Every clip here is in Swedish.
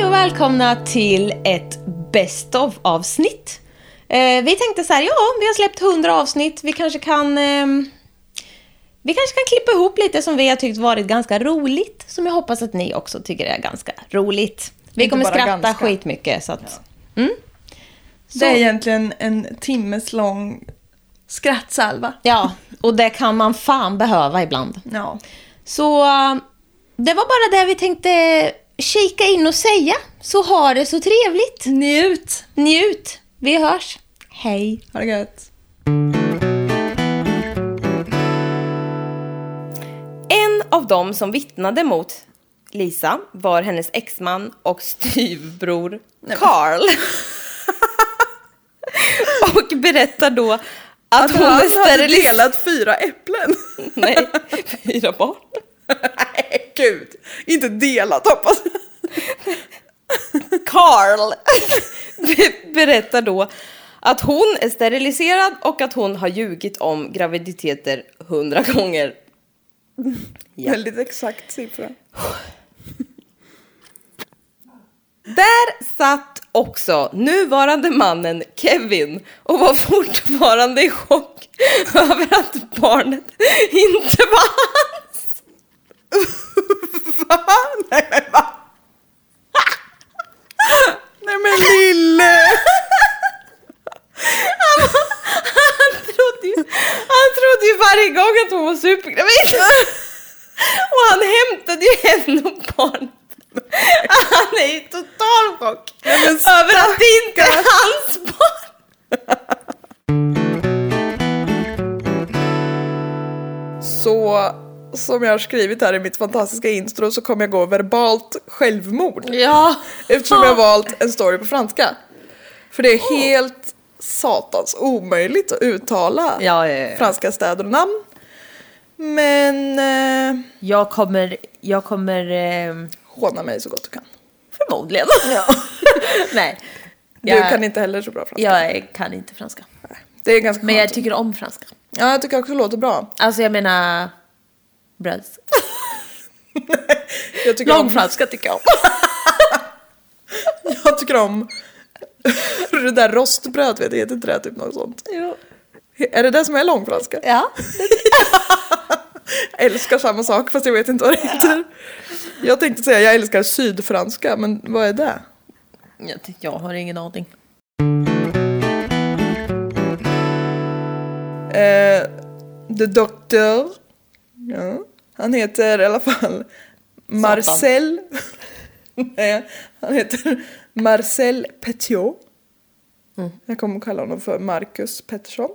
välkomna till ett Best of avsnitt. Eh, vi tänkte så här, ja, vi har släppt 100 avsnitt. Vi kanske kan... ehm, vi kanske kan klippa ihop lite som vi har tyckt varit ganska roligt. Som jag hoppas att ni också tycker är ganska roligt. Vi Inte kommer bara skratta ganska. skitmycket. Så att, mm. så, Det är egentligen en timmes lång skrattsalva. Ja, och det kan man fan behöva ibland. Ja. Så eh, det var bara det vi tänkte kika in och säga. Så ha det så trevligt. Njut! Njut. Vi hörs. Hej. Ha det gött. En av dem som vittnade mot Lisa var hennes exman och styvbror Carl. och berättar då att, hon är steriliserad. fyra äpplen. Nej, fyra barn. Nej, gud. Inte delat hoppas jag. Carl be- berättar då att hon är steriliserad och att hon har ljugit om graviditeter hundra gånger. Ja. Väldigt exakt siffra. Där satt också nuvarande mannen Kevin och var fortfarande i chock över att barnet inte var hans. Va? Nej men va? Nej men lille! Han trodde ju, han trodde ju varje gång att hon var supergravid. Och han hämtade ju henne och barnet. Han är i total chock över att det inte är hans barn. Så som jag har skrivit här i mitt fantastiska intro så kommer jag gå verbalt självmord. Ja. Eftersom jag valt en story på franska. För det Oh. är helt satans omöjligt att uttala Ja, ja, ja. franska städer och namn. Men eh, Jag kommer, jag kommer ehm, håna mig så gott du kan. förmodligen. Nej. Du kan inte heller så bra franska. Jag kan inte franska. Det är ganska Men skönt. jag tycker om franska. ja, jag tycker också det låter bra. Alltså jag menar... Bröds. Jag tycker, om, Långfranska tycker jag om. jag tycker om det där rostbröd, vet du, heter inte det typ något sånt? Jo. Är det det som är långfranska? Ja. Jag älskar samma sak fast jag vet inte vad det heter. Jag tänkte säga jag älskar sydfranska, men vad är det? Jag, tycker- jag har ingen aning. Eh, the Doctor. Ja. Han heter i alla fall Marcel. Nej, han heter Marcel Petiot. Jag kommer att kalla honom för Marcus Pettersson.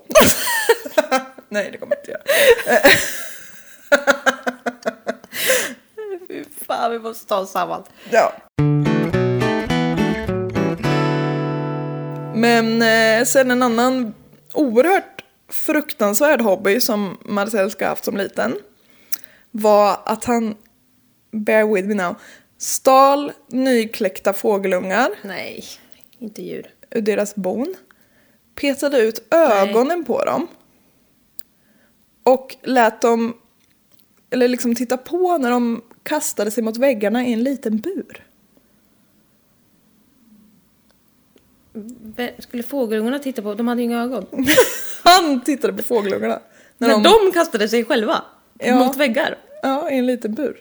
Nej, det kommer jag inte göra. Fy fan, vi måste ta oss samman. Ja. Men eh, sen en annan oerhört fruktansvärd hobby som Marcel ska ha haft som liten var att han, bear with me now, stal nykläckta fågelungar Nej, inte djur. ur deras bon, petade ut ögonen på dem och lät dem, eller liksom titta på när de kastade sig mot väggarna i en liten bur. Vem Skulle fågelungarna titta på? De hade ju inga ögon. Han tittade på fågelungarna. När Men de kastade sig själva Ja. mot väggar. Ja, i en liten bur.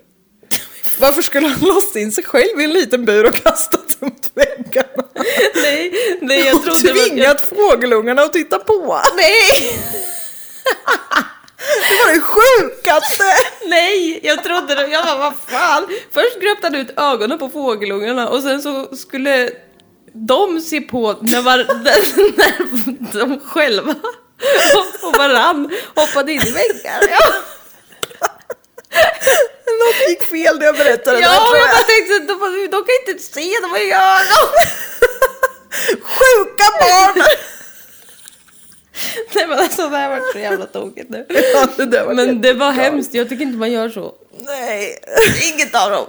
Varför skulle han låsa in sig själv i en liten bur och kasta sig mot väggarna? Nej, nej jag och trodde... det var- tvingat fågelungarna att titta på! Nej! Det var det sjukaste! Nej! Jag trodde det. Jag bara, vad fan? Först gröpte han ut ögonen på fågelungarna och sen så skulle de se på när, var, när de själva och varann hoppade in i väggar. Ja, Något gick fel när jag berättade det här, ja tror jag jag. bara tänkte, de, de kan ju inte se, de har inga ögon! Sjuka barn! Nej men alltså det här var så jävla tokigt nu. Ja, det där var Men det var jättebra. hemskt, jag tycker inte man gör så. Nej. Inget av dem.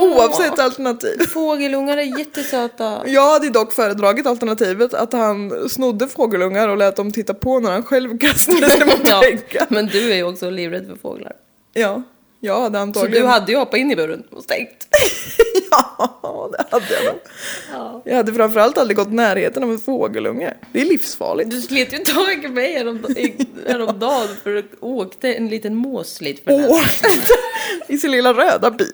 Oavsett alternativ. Fågelungar är jättesöta. Jag hade dock föredragit alternativet att han snodde fågelungar och lät dem titta på när han själv kastade sig mot Ja, väggarna. men du är ju också livrädd för fåglar. Ja, Jag hade Så antagligen... du hade ju hoppat in i buren och stängt. ja, det hade jag nog. Jag hade framförallt aldrig gått i närheten av en fågelunge. Det är livsfarligt. Du slet ju tag i mig härom- i- häromdagen för att åkte en liten måslit för den. Åkt i sin lilla röda bil.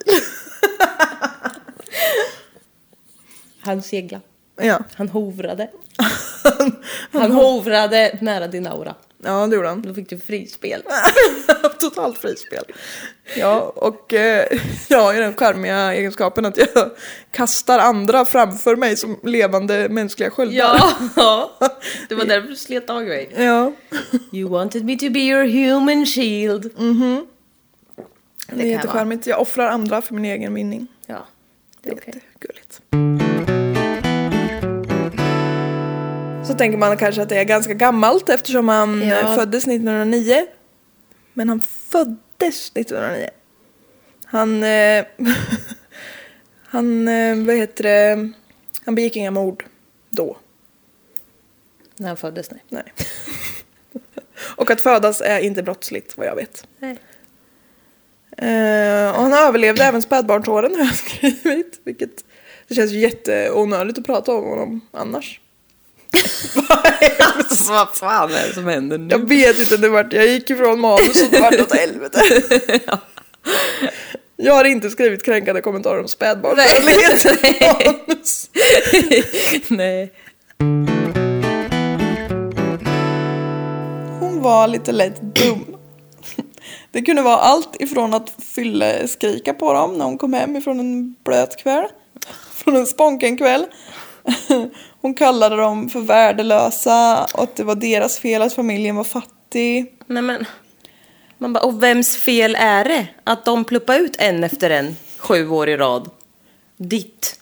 Han segla. Ja, Han hovrade. Han hovrade nära din aura. ja det gjorde han. Då fick du frispel. Totalt frispel. Ja, och eh, jag har ju den charmiga egenskapen att jag kastar andra framför mig som levande mänskliga sköldar. Ja, det var därför du slet tag i mig. Ja, You wanted me to be your human shield. Mm-hmm. det är jag vara. jättecharmigt. Jag offrar andra för min egen vinning. Ja, det Det är är okej. jättegulligt. Så tänker man kanske att det är ganska gammalt eftersom han Ja. eh, föddes 1909. Men han föddes 1909. Han... Eh, han, eh, vad heter det? Han begick inga mord då. När han föddes, nej. Nej. och att födas är inte brottsligt vad jag vet. Nej. Eh, och han överlevde även spädbarnsåren har jag skrivit. Vilket det känns ju jätteonödigt att prata om honom annars. Vad fan är det som händer nu? Jag vet inte, det vart, jag gick ifrån manus och det vart åt helvete. Jag har inte skrivit kränkande kommentarer om spädbarnsdödlighet. i manus. nej. Hon var lite lätt dum. Det kunde vara allt ifrån att fylla skrika på dem när hon kom hem ifrån en blöt kväll. Från en sponken kväll. Hon kallade dem för värdelösa och att det var deras fel att familjen var fattig. Nej men. Man bara, och vems fel är det att de pluppar ut en efter en sju år i rad? Ditt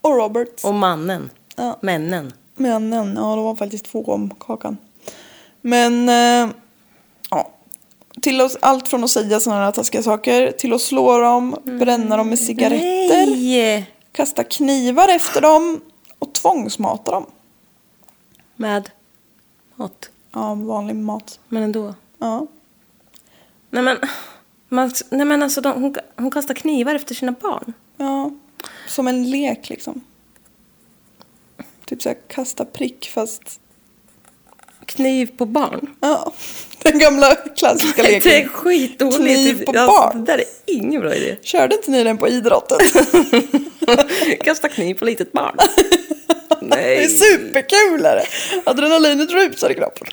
Och Roberts. och mannen. Ja. Männen. Männen, ja det var faktiskt två om kakan. Men, eh, ja. Till oss, allt från att säga sådana här taskiga saker till att slå dem, bränna dem med cigaretter. Nej! kasta knivar efter dem och tvångsmata dem. Med mat. Ja, vanlig mat. Men ändå. Ja. Nej men. Man, nej men alltså de, hon, hon kastar knivar efter sina barn. ja. Som en lek liksom. Typ såhär kasta prick fast... Kniv på barn. Ja. Den gamla klassiska Det är leken. skitdåligt. Kniv på Alltså, barn. Det där är ingen bra idé. Körde inte ni den på idrotten? Kasta kniv på litet barn. Det är Nej. superkul är det. Adrenalinet rusar i kroppen.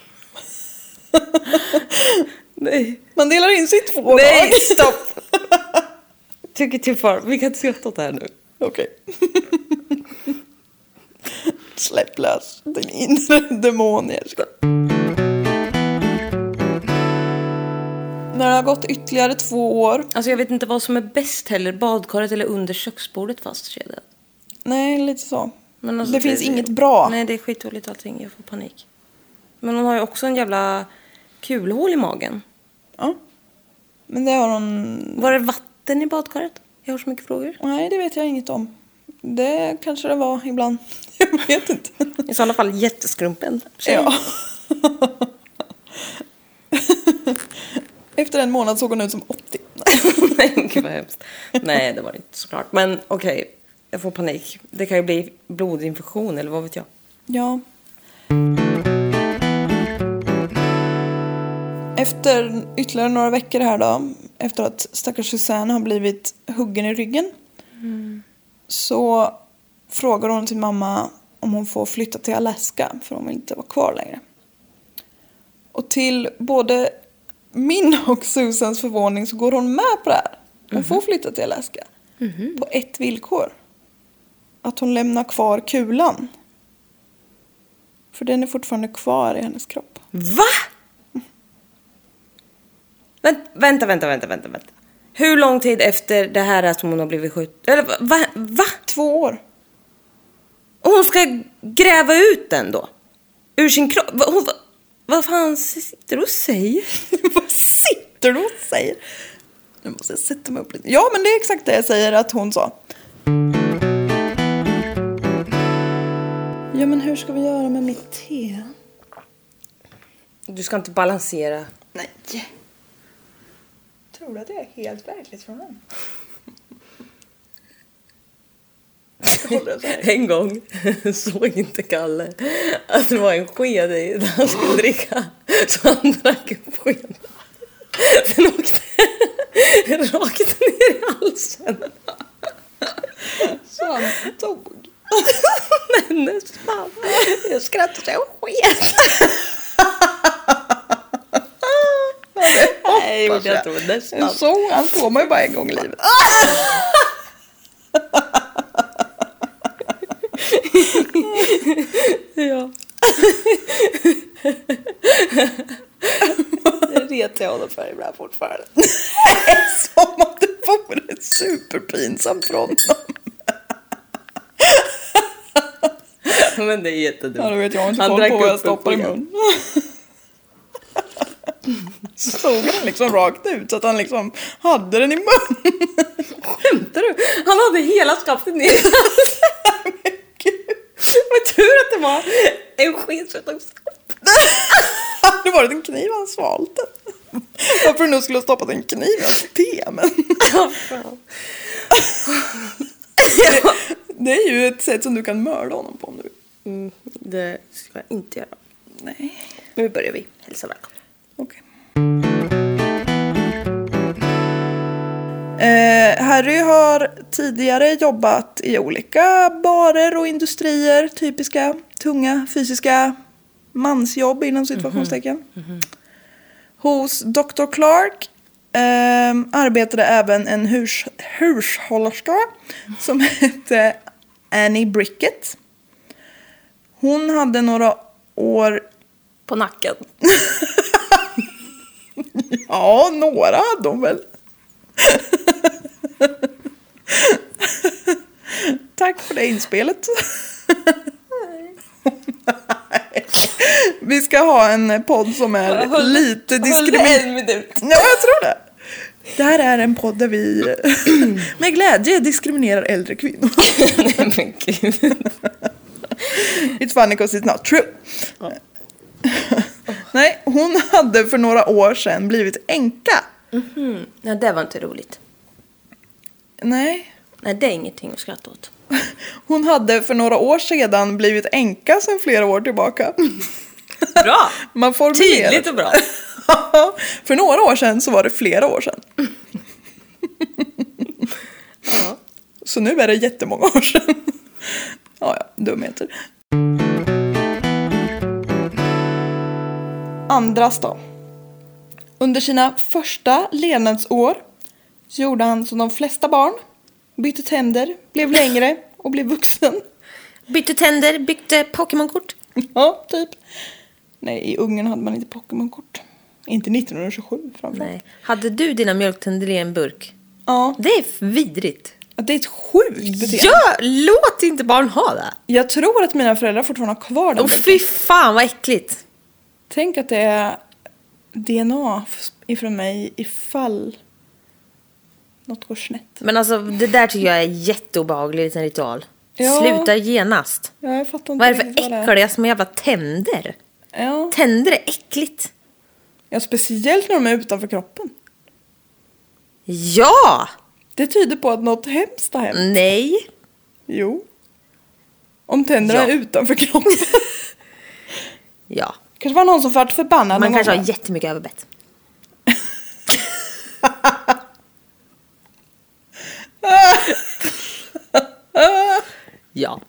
Nej. Man delar in sig i två Nej, lag. stopp! Tycker till far. Vi kan inte skratta åt det här nu. Okej. Släpp lös din inre demon Jessica. När det har gått ytterligare två år. Alltså jag vet inte vad som är bäst heller. Badkaret eller under köksbordet fastkedjat. Nej, lite så. Men alltså, det finns inget bra. Nej, det är skitdåligt allting. Jag får panik. Men hon har ju också en jävla kulhål i magen. Ja. Men det har hon... Var det vatten i badkaret? Jag har så mycket frågor. Nej, det vet jag inget om. Det kanske det var ibland. Jag vet inte. I sådana fall jätteskrumpen. tjej. Ja. Efter en månad såg hon ut som 80. Nej, gud vad hemskt. Nej, det var det inte såklart. Men okej, jag får panik. Det kan ju bli blodinfektion eller vad vet jag. Ja. Efter ytterligare några veckor här då, efter att stackars Susanne har blivit huggen i ryggen, så frågar hon sin mamma om hon får flytta till Alaska, för hon vill inte vara kvar längre. Och till både min och Susans förvåning så går hon med på det här. Hon får flytta till Alaska. På ett villkor. Att hon lämnar kvar kulan. För den är fortfarande kvar i hennes kropp. Va? Vänt, vänta, vänta, vänta, vänta, vänta. Hur lång tid efter det här är som hon har blivit skjuten? Eller va- va? va? Två år. Och hon ska gräva ut den då? Ur sin kropp? Va, hon, va, vad fan sitter du och säger? Vad sitter du och säger? Nu måste jag sätta mig upp lite. Ja, men det är exakt det jag säger att hon sa. Ja, men hur ska vi göra med mitt te? Du ska inte balansera. Nej. Tror du att jag är helt verklighetsfrånvänd? Jag håller det så här. En gång såg inte Kalle att det var en sked i när han skulle dricka. Så han drack upp skeden. Den åkte rakt ner i halsen. Så han dog. Men nästan. Jag skrattade så jag sket. Nej, det gjorde jag inte. men Nästan. En sån han får man ju bara en gång i livet. Ja. Det retar jag honom för ibland fortfarande. Som att det vore superpinsamt för honom. Men det är jättedumt. Ja, då vet jag inte Han koll drack på vad upp jag en stoppar i sked. mun. Stod han liksom rakt ut så att han liksom hade den i munnen. Skämtar du? Han hade hela skaftet ner i halsen. Vad tur att det var en sked som tog stopp. Det hade varit en kniv han svalt den. Varför du nu skulle ha stoppat en kniv i hans te, men Ja, fan. Det är ju ett sätt som du kan mörda honom på om du vill. Mm, det ska jag inte göra. Nej. Nu börjar vi. Hälsa välkommen. Okej. Eh, Harry har tidigare jobbat i olika barer och industrier. Typiska tunga fysiska mansjobb inom situationstecken. Hos Dr. Clark ehm, arbetade även en hus- hushållerska som hette Annie Brickett. Hon hade några år På nacken. Ja, några hade de väl. Tack för det inspelet. Nej. Vi ska ha en podd som är lite diskriminerande. en minut. Ja, jag tror det. Det här är en podd där vi med glädje diskriminerar äldre kvinnor. Nej men gud. It's funny because it's not true. Nej, hon hade för några år sedan blivit änka. Mhm. Nej det var inte roligt. Nej, Nej det är ingenting att skratta åt. Hon hade för några år sedan blivit änka sedan flera år tillbaka. Bra! Man formulerar. Tydligt och bra. för några år sedan så var det flera år sedan. Ja. Så nu är det jättemånga år sedan. ja, ja, dumheter. Andras då. Under sina första levnadsår så gjorde han som de flesta barn. Bytte tänder, blev längre och blev vuxen. Bytte tänder, bytte Pokémonkort. Ja, typ. Nej, i Ungern hade man inte Pokémon-kort. Inte 1927 Mm. framförallt. Nej. Hade du dina mjölktänder i en burk? Ja, Det är vidrigt. det är ett sjukt beteende. Ja, låt inte barn ha det. Jag tror att mina föräldrar fortfarande har kvar Mm. den. Åh fy fan vad äckligt. Tänk att det är DNA ifrån mig ifall något går snett. Men alltså det där tycker jag är jätteobehaglig liten ritual. Ja. Sluta genast. Ja, jag fattar inte Vad är det för riktigt vad äckliga små jävla tänder? Ja. Tänder är äckligt. ja, speciellt när de är utanför kroppen. Ja! Det tyder på att något hemskt har Mm. hänt. Nej. Jo. Om tänderna Ja. är utanför kroppen. Ja. kanske var någon som vart förbannad Man någon kanske gång. har jättemycket överbett. ja, Ja.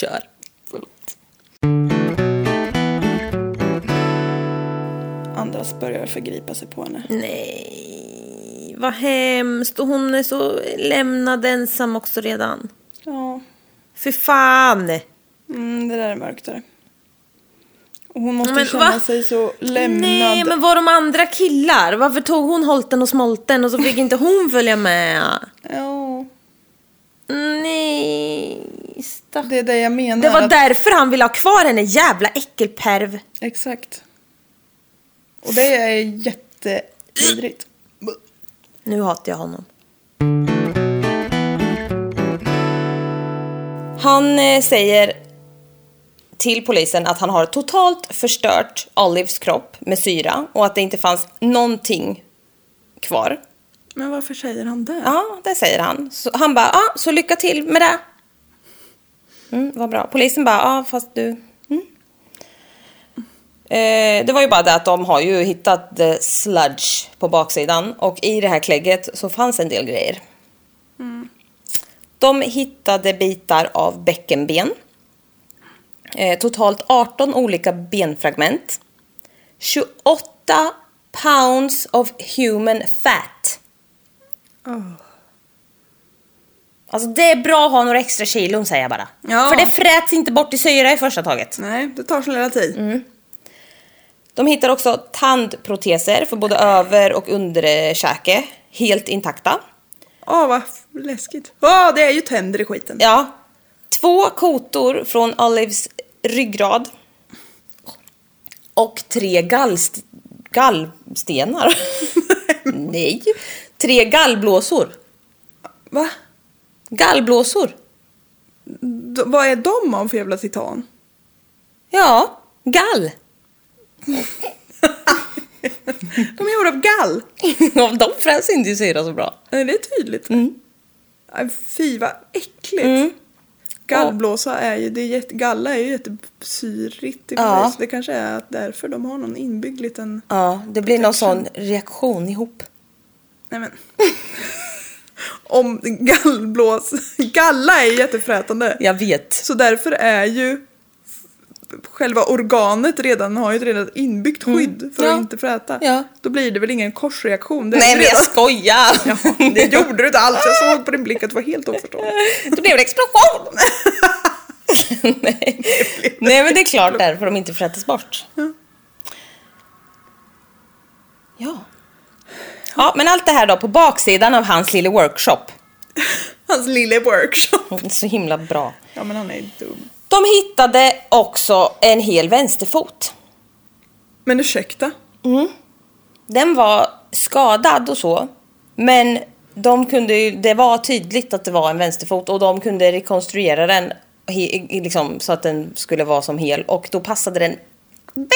kör. Andras börjar förgripa sig på henne. Nej, vad hemskt. Och hon är så lämnad ensam också redan. Ja, Fy fan! mm, det där är mörktare. Och hon måste Men känna va? sig så lämnad. Nej, men var de andra killar? Varför tog hon holten och smolten och så fick inte hon följa med? Ja, Nej, stack. det är det jag menar. Det var att- därför han ville ha kvar henne, jävla äckelperv. Exakt. Och det är jättevidrigt. Nu hatar jag honom. Han eh, säger till polisen att han har totalt förstört Olives kropp med syra och att det inte fanns någonting kvar. Men varför säger han det? Ja, det säger han. Så han bara, ja, så lycka till med det. Mm, vad bra. Polisen bara, ja, fast du... Mm. Eh, det var ju bara det att de har ju hittat eh, sludge på baksidan och i det här klägget så fanns en del grejer. De hittade bitar av bäckenben. Eh, totalt 18 olika benfragment. 28 pounds of human fat. Alltså det är bra att ha några extra kilon säger jag bara. Ja. För det fräts inte bort i syra i första taget. Nej, det tar sin lilla tid. Mm. De hittar också tandproteser för både över och underkäke. Helt intakta. Åh, vad läskigt. Åh, det är ju tänder i skiten. Ja. Två kotor från Olives ryggrad. Och tre gallst gallstenar. Nej. Tre gallblåsor. Va? Gallblåsor. D- vad är de om för jävla titan? Ja, gall. De är gjorda av gall. De fräser inte i syra så bra. Nej, det är tydligt. Mm. Aj, Fy, vad äckligt. Gallblåsa är ju, det är jätte, galla är ju jättesyrigt i Ja. ja. Det kanske är att därför de har någon inbyggd liten... Ja, det blir någon sån reaktion ihop. Nej men. om gallblås... Galla är ju jättefrätande. Jag vet. Så därför är ju f- själva organet redan har ju ett redan inbyggt skydd för Mm. Ja. att inte fräta. Ja. Då blir det väl ingen korsreaktion. Det är Nej, ju men jag redan... skojar! Ja, det gjorde du inte alls. Jag såg på din blick att du var helt oförstående. Då blev det explosion! Nej. Nej, men det är klart därför de inte frätas bort. Ja. Ja, men allt det här då på baksidan av hans lilla workshop. Hans lille workshop. Så himla bra. Ja men han är ju dum. De hittade också en hel vänsterfot. Men ursäkta. Den var skadad och så. Men de kunde ju, det var tydligt att det var en vänsterfot och de kunde rekonstruera den he, i- liksom, så att den skulle vara som hel. Och då passade den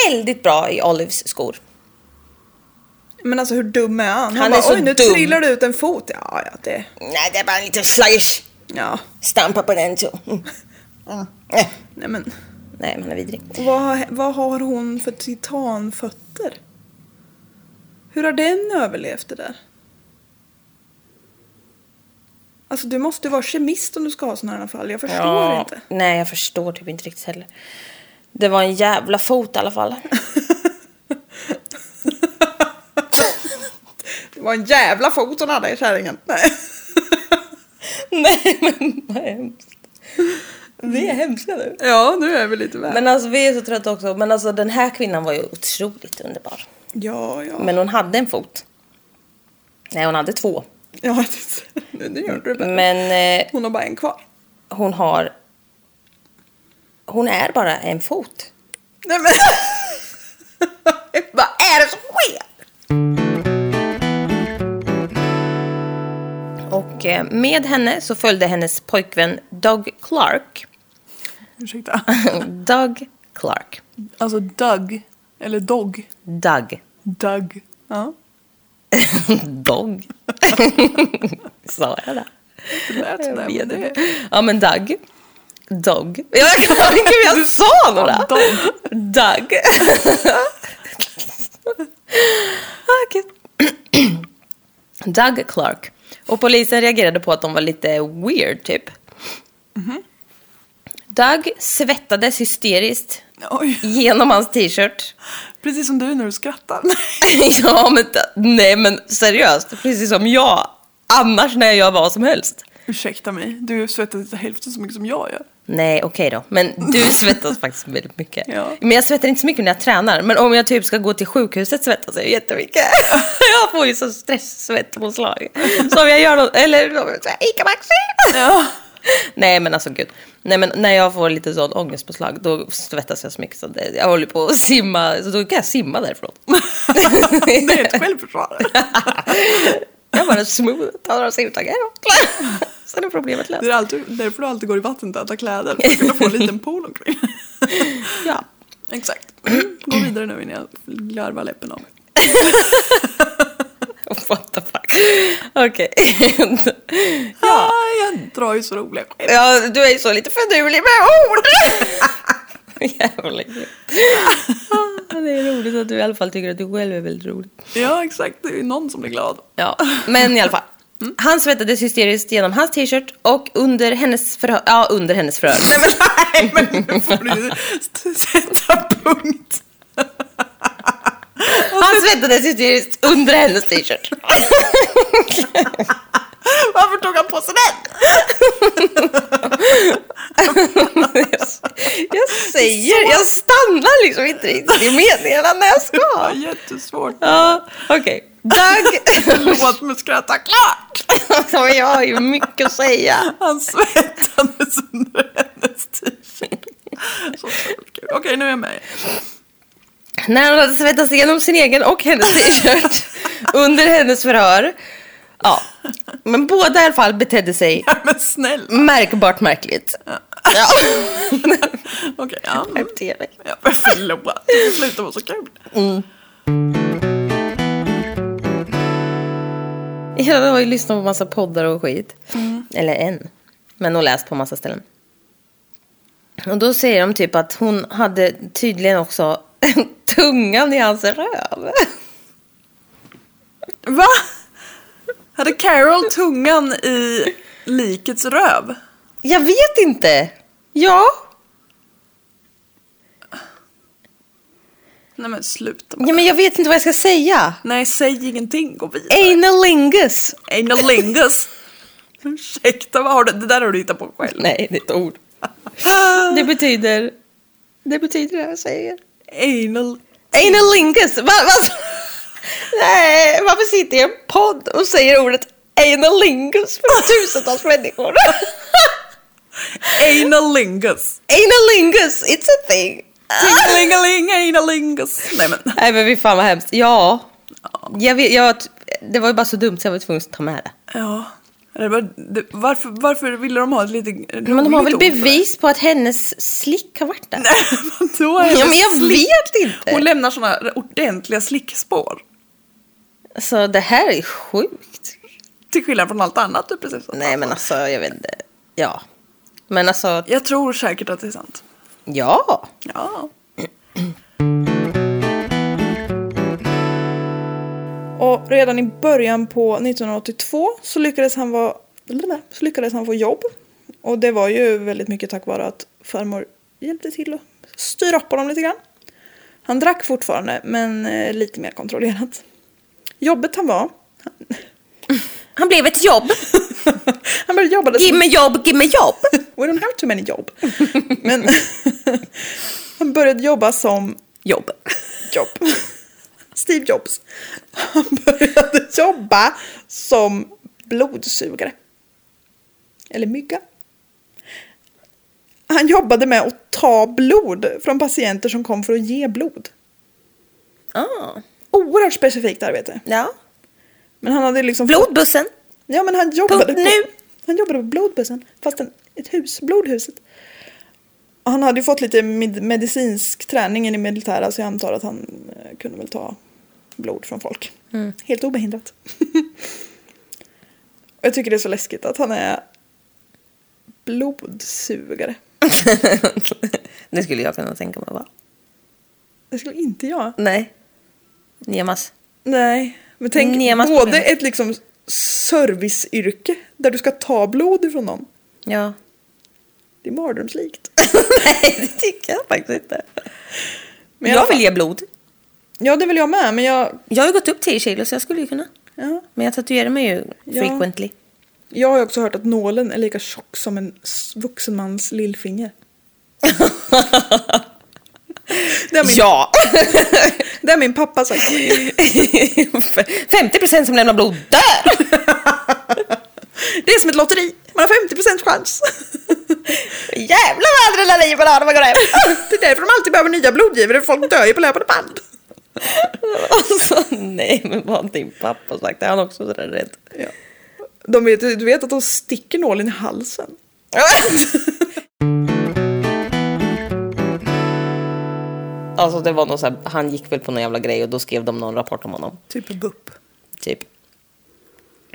väldigt bra i Olives skor. Men alltså hur dum är han? Han, Han är bara så oj nu dum." trillar det ut en fot. Ja ja det. Nej, det är bara en liten slash. Ja. Stampa på den så. Mm. Äh. Nej men. Nej, man är vidrig. Vad, har- vad har hon för titanfötter? Hur har den överlevt det där? Alltså du måste vara kemist om du ska ha sådana här fall. Jag förstår inte. Nej, jag förstår typ inte riktigt heller. Det var en jävla fot i alla fall. Det var en jävla fot hon hade i kärringen. Nej. Nej, men vad hemskt. Vi är hemska nu. Ja nu är vi lite väl. Men alltså vi är så trötta också. Men alltså den här kvinnan var ju otroligt underbar. Ja ja. Men hon hade en fot. Nej, hon hade två. ja det, nu, nu gör du det. Men eh, Hon har bara en kvar. hon har... Hon är bara en fot. Nej men. Vad är det som sker? Och eh, med henne så följde hennes pojkvän Doug Clark. Ursäkta. Doug Clark. Alltså Doug. Eller Dog. Doug. Doug. Ja. Dog. Sa jag det? Det lät sådär. men det- Ja men Doug. Dog. Jag klarar inte hur jag sa några. Dog. Doug. Okej. Doug Ah, Clark. Och polisen reagerade på att de var lite weird typ. Doug svettades hysteriskt Oj. genom hans t-shirt. Precis som du när du skrattar. ja men nej men seriöst, precis som jag annars när jag gör vad som helst. Ursäkta mig, du svettas hälften så mycket som jag gör. Nej, okej då. Men du svettas faktiskt väldigt mycket. Ja. Men jag svettar inte så mycket när jag tränar. Men om jag typ ska gå till sjukhuset svettas jag jättemycket. jag får ju så stresssvettpåslag. Så om jag gör något, eller så här, Ica Maxi. Ja. Nej men alltså gud. Nej men när jag får lite sån ångestpåslag då svettas jag så mycket så det, jag håller på att simma. Så då kan jag simma därifrån. Det är ett självförsvar. jag bara smooth, tar några simtaggar och sen är problemet löst. Det är alltid, därför du alltid går i vattentäta kläder. För att kunna få en liten pool omkring. Ja. Exakt. Gå vidare nu innan jag larvar läppen av mig. What the fuck. Okej. Ja. jag drar ju så roliga skämt. Ja, du är ju så lite finurlig med ord. Jävla kul. Ja, Det är roligt att du i alla fall tycker att du själv är väldigt rolig. Ja, exakt. Det är ju någon som blir glad. Ja, Mm. men i alla fall. Han svettades hysteriskt genom hans t-shirt och under hennes förhör. Ja, under hennes förhör. Nej, men nu får du ju st- sätta punkt. Han svettades hysteriskt under hennes t-shirt. Varför tog han på sig den? Jag säger, jag stannar liksom inte riktigt i meningarna när jag Det var ska. jättesvårt. Ja, okej. Doug, Låt mig skratta klart. som jag har ju mycket att säga. Han svettades under hennes t-shirt. Så otroligt kul. Okej, nu är jag med. När han hade svettats igenom sin egen och hennes t-shirt under hennes förhör. Ja, men båda i alla fall betedde sig Ja, men snäll. märkbart märkligt. Ja, Okej, ja. jag beter mig. Ja, men förlåt. Det får sluta vara så kul. Jag har ju lyssnat på massa poddar och skit. Eller en. Men och läst på massa ställen. Och då säger de typ att hon hade tydligen också tungan i hans röv. Va? Hade Carol tungan i likets röv? Jag vet inte. Ja, Nej men sluta. ja men jag vet inte vad jag ska säga. Nej, säg ingenting. Gå vidare. Analingus. Analingus. Ursäkta, vad har du? Det där har du hittat på själv. Nej, det är ett ord. Det betyder... Det betyder det jag säger. Anal... Analingus. Va, va, nej, varför sitter jag i en podd och säger ordet analingus för tusentals människor? Analingus. analingus, it's a thing. Tingelingeling, analingus. Nej men. Nej men fy fan vad hemskt. Ja. Jag vet, jag, det var ju bara så dumt så jag var tvungen att ta med det. Ja. Det var, det, varför, varför ville de ha ett lite Men de har väl roligt ord för det? bevis på att hennes slick har varit där? Nej, vadå? Är det Ja, men jag slick? vet inte. Hon lämnar såna ordentliga slickspår. Så det här är sjukt. Till skillnad från allt annat du precis sa. Nej men alltså jag vet inte. Ja. Men alltså, Jag tror säkert att det är sant. ja. Ja. Och redan i början på 1982 så lyckades han, vara, så lyckades han få jobb. Och det var ju väldigt mycket tack vare att farmor hjälpte till att styra upp honom lite grann. Han drack fortfarande, men eh, lite mer kontrollerat. Jobbet han var... Han blev ett jobb. Han började jobba... Give me jobb, give me jobb. We don't have too many jobb. Men han började jobba som Jobb. jobb. Steve Jobs. Han började jobba som blodsugare. Eller mygga. Han jobbade med att ta blod från patienter som kom för att ge blod. Ah, Oerhört specifikt arbete. ja. Men han hade liksom... Blodbussen. Ja men han jobbade Punkt nu. på, Han jobbade på blodbussen. Fast en, ett hus, blodhuset. Han hade ju fått lite med, medicinsk träning i det militära så jag antar att han eh, kunde väl ta blod från folk. Helt obehindrat. Och jag tycker det är så läskigt att han är blodsugare. Det skulle jag kunna tänka mig va? Det skulle inte jag. Nej. Nemas. Nej, men tänk Nemas Mm, både problem. ett liksom serviceyrke där du ska ta blod ifrån någon. Ja. Det är mardrömslikt. Nej, det tycker jag faktiskt inte. Men i alla jag vill fall- ge blod. Ja, det vill jag med, men jag... Jag har ju gått upp 10 kilo så jag skulle ju kunna. Ja. Men jag tatuerar mig ju Ja. frequently. Jag har ju också hört att nålen är lika tjock som en s- vuxen mans lillfinger. det, har min, Ja! det har min pappa sagt. 50% som lämnar blod där! Det är som ett lotteri, man har 50% chans. Jävlar vad adrenalin man har när man går hem! det är därför de alltid behöver nya blodgivare, för folk dör ju på löpande band. Alltså nej, men vad har din pappa sagt? Är han också sådär rädd? Ja. De vet, du vet att de sticker nålen i halsen. Alltså det var någon så här, han gick väl på någon jävla grej och då skrev de någon rapport om honom. Typ BUP. Typ.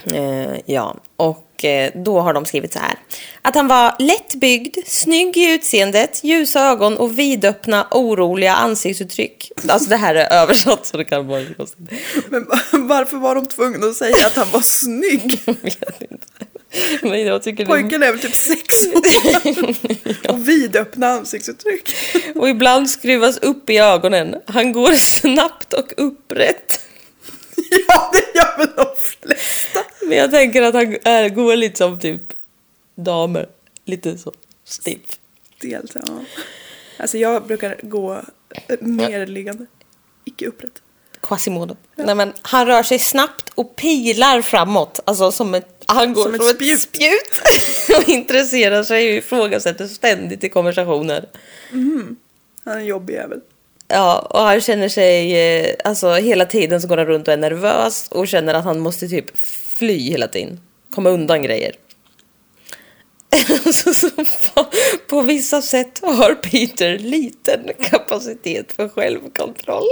Eh, ja, och eh, då har de skrivit så här. Att han var lättbyggd, snygg i utseendet, ljusa ögon och vidöppna, oroliga ansiktsuttryck. Alltså det här är översatt så det kan vara lite konstigt. Men varför var de tvungna att säga att han var snygg? Jag vet inte. Men jag tycker det är Pojken är väl typ sex år. Och vidöppna ansiktsuttryck. Och ibland skruvas upp i ögonen. Han går snabbt och upprätt. Ja, det gör väl de flesta. Men jag tänker att han är, går lite som typ damer. Lite så stiff. Dels, ja. Alltså jag brukar gå eh, nerliggande. Icke upprätt. Quasimodo. Nej, men han rör sig snabbt och pilar framåt. Alltså som ett, han går Som ett spjut. spjut. och intresserar sig och ifrågasätter ständigt i konversationer. Han är en jobbig jävel. Ja, och han känner sig... eh, Alltså hela tiden så går han runt och är nervös och känner att han måste typ fly hela tiden. Komma undan grejer. Alltså, så fa- på vissa sätt har Peter liten kapacitet för självkontroll.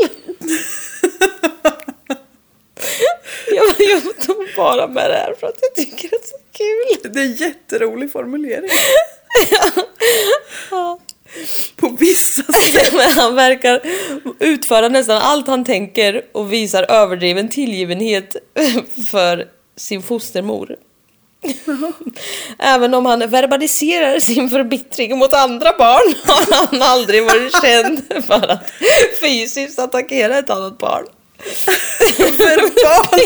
Jag, jag tog bara med det här för att jag tycker det är så kul. Det är en jätterolig formulering. På vissa sätt. Men han verkar utföra nästan allt han tänker och visar överdriven tillgivenhet för sin fostermor. Även om han verbaliserar sin förbittring mot andra barn har han aldrig varit känd för att fysiskt attackera ett annat barn. Verbal.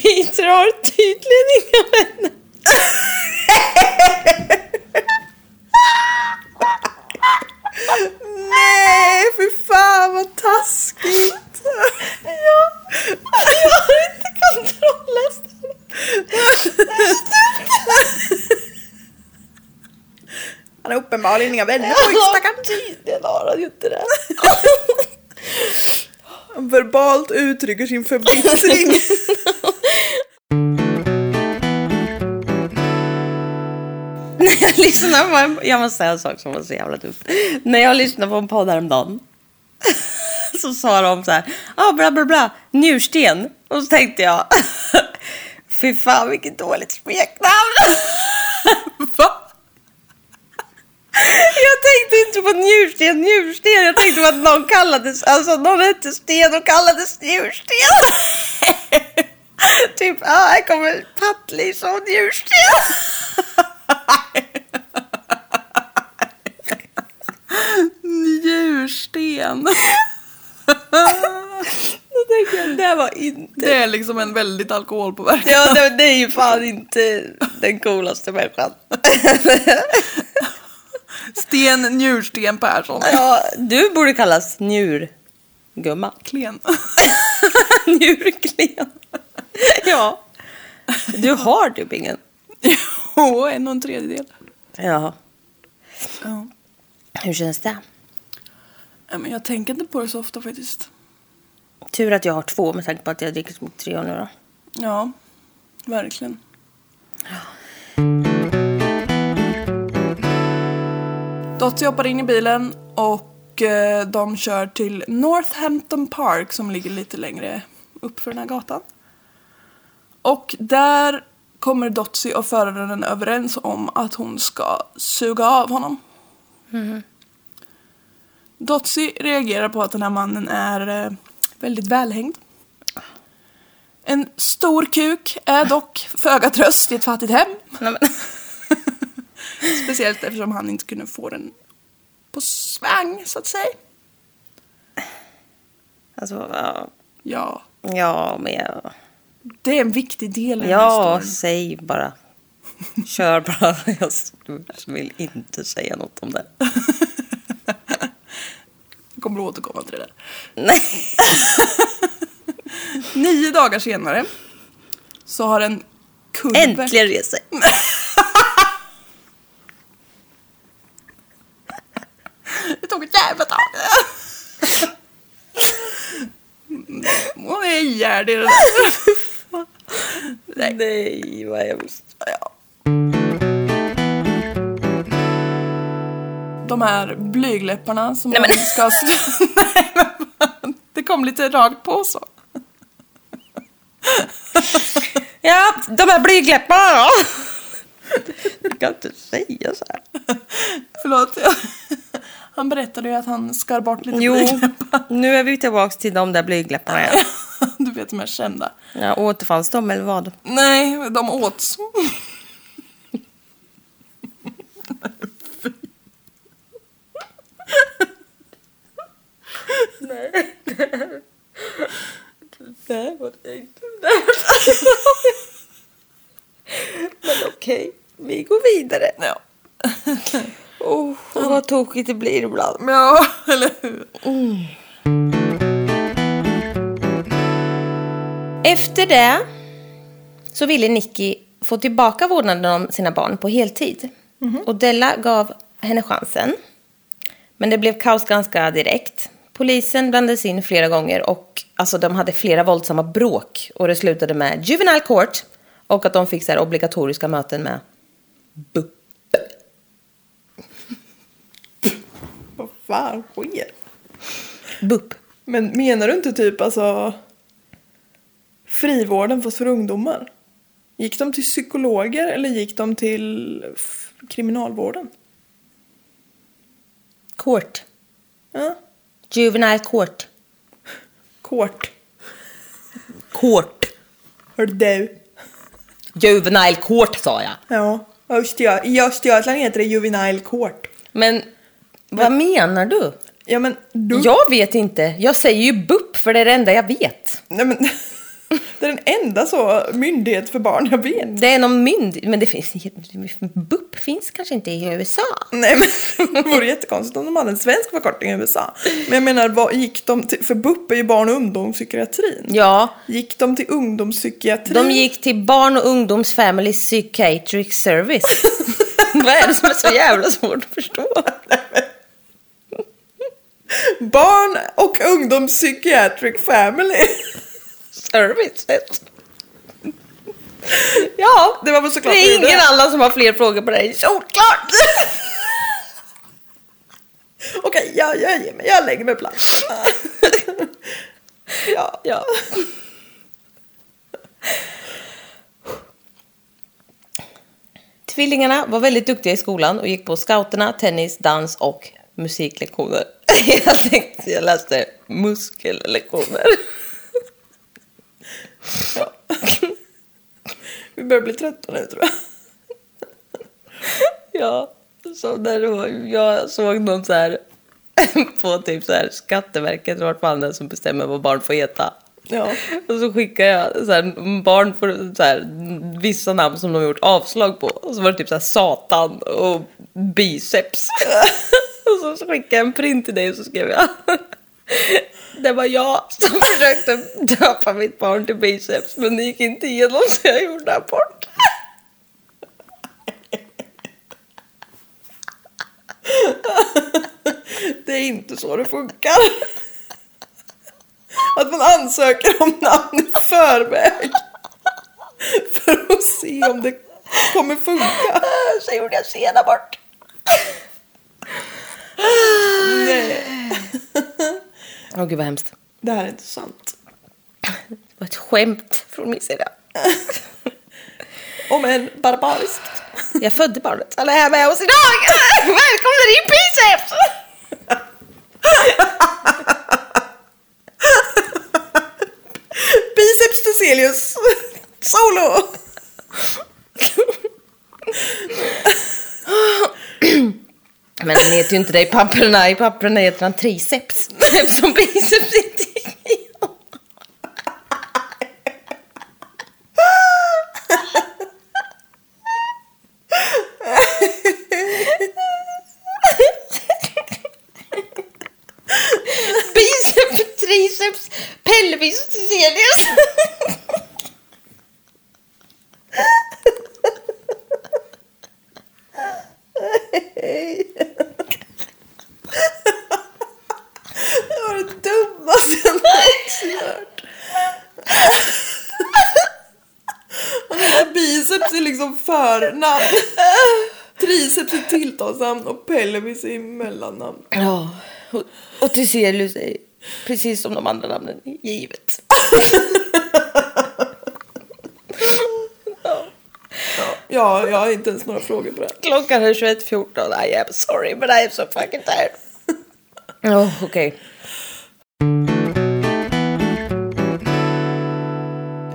Peter har tydligen inga vänner. Nej, fy fan vad taskigt. Ja. Jag har inte kontroll nästan. Han har uppenbarligen inga vänner. Oj, Ja, stackarn. Tydligen har han ju inte det. Han verbalt uttrycker sin förbittring. När jag lyssnar på en, jag måste säga en sak som var så jävla dum. När jag lyssnade på en podd häromdagen så sa de så här, ah, bla bla bla, njursten. Och så tänkte jag, fy fan vilket dåligt smeknamn. Va? Jag tänkte inte på njursten, njursten. Jag tänkte på att någon kallades, alltså någon hette Sten och kallades njursten. typ, ja ah, här kommer Pattlis och njursten. Njursten. Då tänkte jag, det här var inte Det är liksom en väldigt alkoholpåverkan. Ja, det, det är ju fan inte den coolaste människan. Sten Njursten Persson. Ja, du borde kallas njurgumma. Klen. Njurklen. Ja. Du har typ ingen. Jo, en och en tredjedel. Ja. Ja. Hur känns det? Nej, Men jag tänker inte på det så ofta faktiskt. Tur att jag har två med tanke på att jag dricker så mycket tre nu då. Ja, verkligen. Dottie hoppar in i bilen och eh, de kör till Northampton Park som ligger lite längre upp för den här gatan. Och där kommer Dottie och föraren överens om att hon ska suga av honom. Dotsie reagerar på att den här mannen är eh, väldigt välhängd. En stor kuk är dock föga tröst i ett fattigt hem. Nej, men. Speciellt eftersom han inte kunde få den på svang, så att säga. Alltså, ja. Ja, ja, men jag... det är en viktig del i den här Ja, storyn. säg bara. Kör bara. Jag vill inte säga något om det. Jag kommer att återkomma till det där. Nej. Nio dagar senare så har en kurve... Äntligen reser Det tog ett jävla tag. Hon är ihjärd i det där. Nej. Nej, vad hemskt. Ja. De här blygläpparna som Nej, men- man ska... st- Nej, men fan. Det kom lite rakt på så. Ja, här, de här blygdläpparna då? Du kan inte säga så här. Förlåt. Han berättade ju att han skar bort lite Jo, blygdläppar. nu är vi tillbaka till de där blygdläpparna igen. Du vet de här kända. Ja, återfanns de eller vad? Nej, de åts. Nej, vad äckligt. Men okej, vi går vidare. Ja. Oh, vad tokigt det blir ibland. ja, eller hur? Efter det så ville Nicky få tillbaka vårdnaden om sina barn på heltid. Och Della gav henne chansen. Men det blev kaos ganska direkt. Polisen blandades in flera gånger och alltså, de hade flera våldsamma bråk. Och det slutade med juvenile court och att de fick så här, obligatoriska möten med BUP. Vad fan sker? BUP. Men menar du inte typ alltså frivården fast för ungdomar? Gick de till psykologer eller gick de till f- kriminalvården? Court. Ja, Juvenile court. kort. Court. Hör du? Juvenile court sa jag. Ja, just det. I Östergötland heter det juvenile court. Men vad menar du? Ja men du... Jag vet inte. Jag säger ju BUP för det är det enda jag vet. Nej, men... det är den enda så myndighet för barn jag vet. Det är någon mynd... Men det finns... BUP finns kanske inte i USA. Nej men det vore jättekonstigt om de hade en svensk förkortning i USA. Men jag menar, vad gick de till? För BUP är ju barn och ungdomspsykiatrin. Ja, Gick de till ungdomspsykiatrin? de gick till Barn och ungdoms Family Psychiatric Service. Vad är det som är så jävla svårt att förstå? Barn och ungdomspsykiatric family. Service? Ja, det var väl såklart Det är vidare. ingen annan som har fler frågor på dig. Solklart! Okej, jag, jag ger mig. Jag lägger mig platt. ja. Ja. Tvillingarna var väldigt duktiga i skolan och gick på scouterna, tennis, dans och musiklektioner. Jag tänkte jag läste muskellektioner. Vi börjar bli trötta nu tror jag. Ja, som när det var, jag såg någon så här på typ så här Skatteverket, vart fan det är som bestämmer vad barn får heta. Ja. Och så skickade jag så här, barn för så här, vissa namn som de gjort avslag på. Och så var det typ så här, satan och biceps. och så skickade jag en print till dig och så skrev jag. Det var jag som försökte döpa mitt barn till biceps men det gick inte igenom så jag gjorde abort. Det är inte så det funkar. Att man ansöker om namn i förväg. För att se om det kommer funka. Så gjorde jag sen abort. Nej. Åh gud vad hemskt. Det här är inte sant. Det var ett skämt från min sida. Om än barbariskt. Jag födde barnet. Alla är här med oss idag! Välkomna till biceps! Biceps Theselius. Solo. Men han heter ju inte det i papperna. I papperna heter han triceps. Eftersom biceps inte gick igenom. Biceps, triceps, pelvis, celius. Det var det dummaste jag någonsin hört. Och det där biceps är liksom förnamn. Triceps är tilltalsnamn och pelvis är mellannamn. Ja, och, och till celius är precis som de andra namnen givet. Ja, jag har inte ens några frågor på det. Klockan är 21.14. I am sorry but I am so fucking tired. Oh, Okej.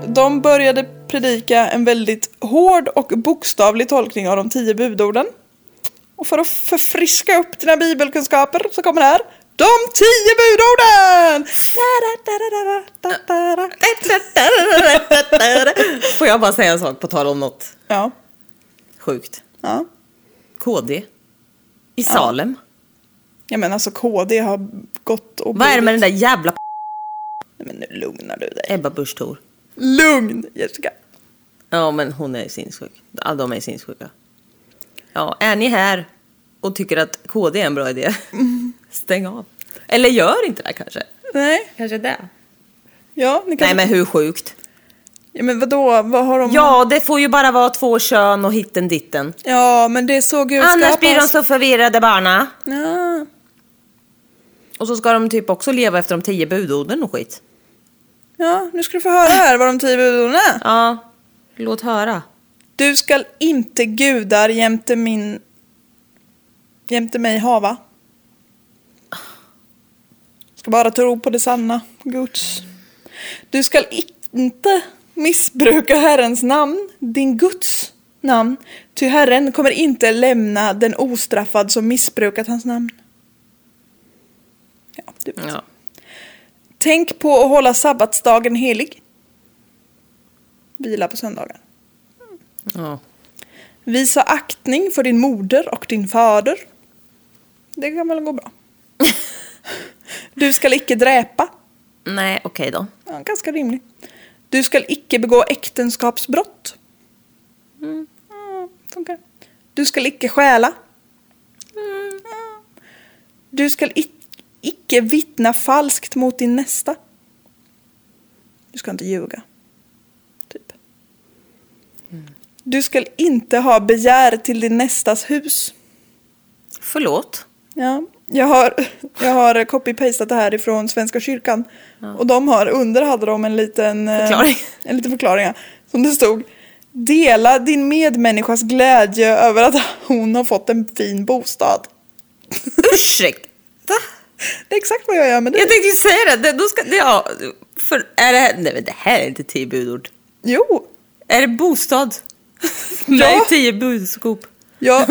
De började predika en väldigt hård och bokstavlig tolkning av de tio budorden. Och för att förfriska upp dina bibelkunskaper så kommer det här. De tio budorden! Da-da-da-da-da-da-da-da. Får jag bara säga en sak på tal om något Ja, sjukt? ja. KD i Salem. Ja men alltså KD har gått och... Vad är det med den där jävla p- Nej, Men nu lugnar du dig. Ebba Busch Thor? Lugn Jessica. Ja, men hon är sinnessjuk. Alla de är sinnessjuka. Ja, är ni här och tycker att KD är en bra idé, Mm. stäng av. Eller gör inte det kanske. Nej, Kanske det. ja ni kan... Nej, men hur sjukt? Ja men vadå, vad har de... Ja, det får ju bara vara två kön och hitten ditten. Ja men det är så Gud Annars blir de skapas. så förvirrade barna. Ja. Och så ska de typ också leva efter de tio budorden och skit. ja, nu ska du få höra här vad de tio budorden är. Ja, låt höra. Du skall inte gudar jämte min... Jämte mig hava. Ska bara tro på det sanna, Guds. Du skall inte missbruka Herrens namn, din Guds namn. Ty Herren kommer inte lämna den ostraffad som missbrukat hans namn. Ja, du vet. Ja. Tänk på att hålla sabbatsdagen helig. Vila på söndagen. ja. Visa aktning för din moder och din fader. Det kan väl gå bra. Du skall icke dräpa. Nej, okej då. Ja, ganska rimlig. Du skall icke begå äktenskapsbrott. Mm, funkar. Du skall icke stjäla. Ja. Du skall ic- icke vittna falskt mot din nästa. Du ska inte ljuga. Typ. Du skall inte ha begär till din nästas hus. Förlåt. Ja, jag har, jag har copy-pastat det här ifrån Svenska kyrkan. Och de har, under hade de en liten eh, Förklaring. En liten förklaring ja, som det stod. Dela din medmänniskas glädje över att hon har fått en fin bostad. Ursäkta. Det är exakt vad jag gör med dig. Jag tänkte ju säga det. det. Då ska, det ja, för, är det här, nej, men det här är inte tio budord. Jo, Är det bostad? Nej, tio budskop. jag...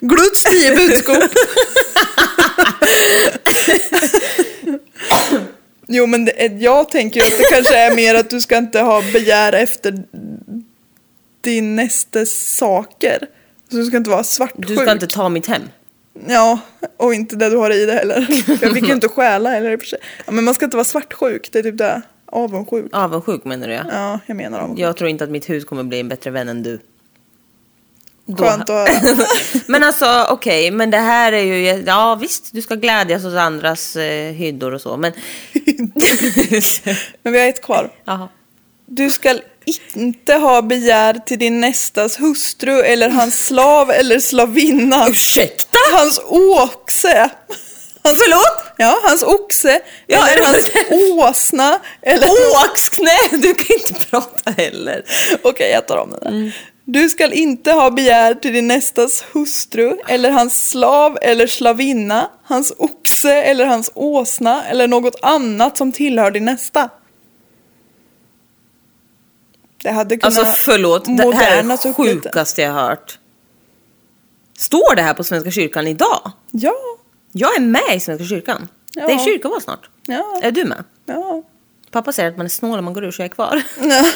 Gluts tio budskap. Jo men det, är- jag tänker ju att det kanske är mer att du ska inte ha begär efter din nästes saker. Så du ska inte vara svartsjuk. Du ska inte ta mitt hem. Ja, och inte det du har i det heller. Jag fick ju inte stjäla heller i och för sig. Ja, men man ska inte vara svartsjuk, det är typ det. Avundsjuk. Avundsjuk Ah, menar du ja. Ja, jag menar avundsjuk. Jag tror inte att mitt hus kommer bli en bättre vän än du. Då- Skönt att höra. Men alltså okej, men det här är ju, ja visst du ska glädjas åt andras eh, hyddor och så men... Men vi har ett kvar. Jaha. Du skall inte ha begär till din nästas hustru eller hans slav eller slavinna. Ursäkta? Hans oxe. Hans, Förlåt? Ja, hans oxe. Ja, eller är det- hans åsna. Eller... Åksknä! Du kan inte prata heller. Okej, jag tar om den där. Mm. Du skall inte ha begär till din nästas hustru eller hans slav eller slavinna, hans oxe eller hans åsna eller något annat som tillhör din nästa. Det hade kunnat... Alltså förlåt, det här är modernas det upp lite. sjukaste jag hört. Står det här på Svenska kyrkan idag? Ja, Jag är med i Svenska kyrkan. Ja. Det är kyrkoval snart. ja, Är du med? ja. Pappa säger att man är snål om man går ur så jag är kvar. Ja.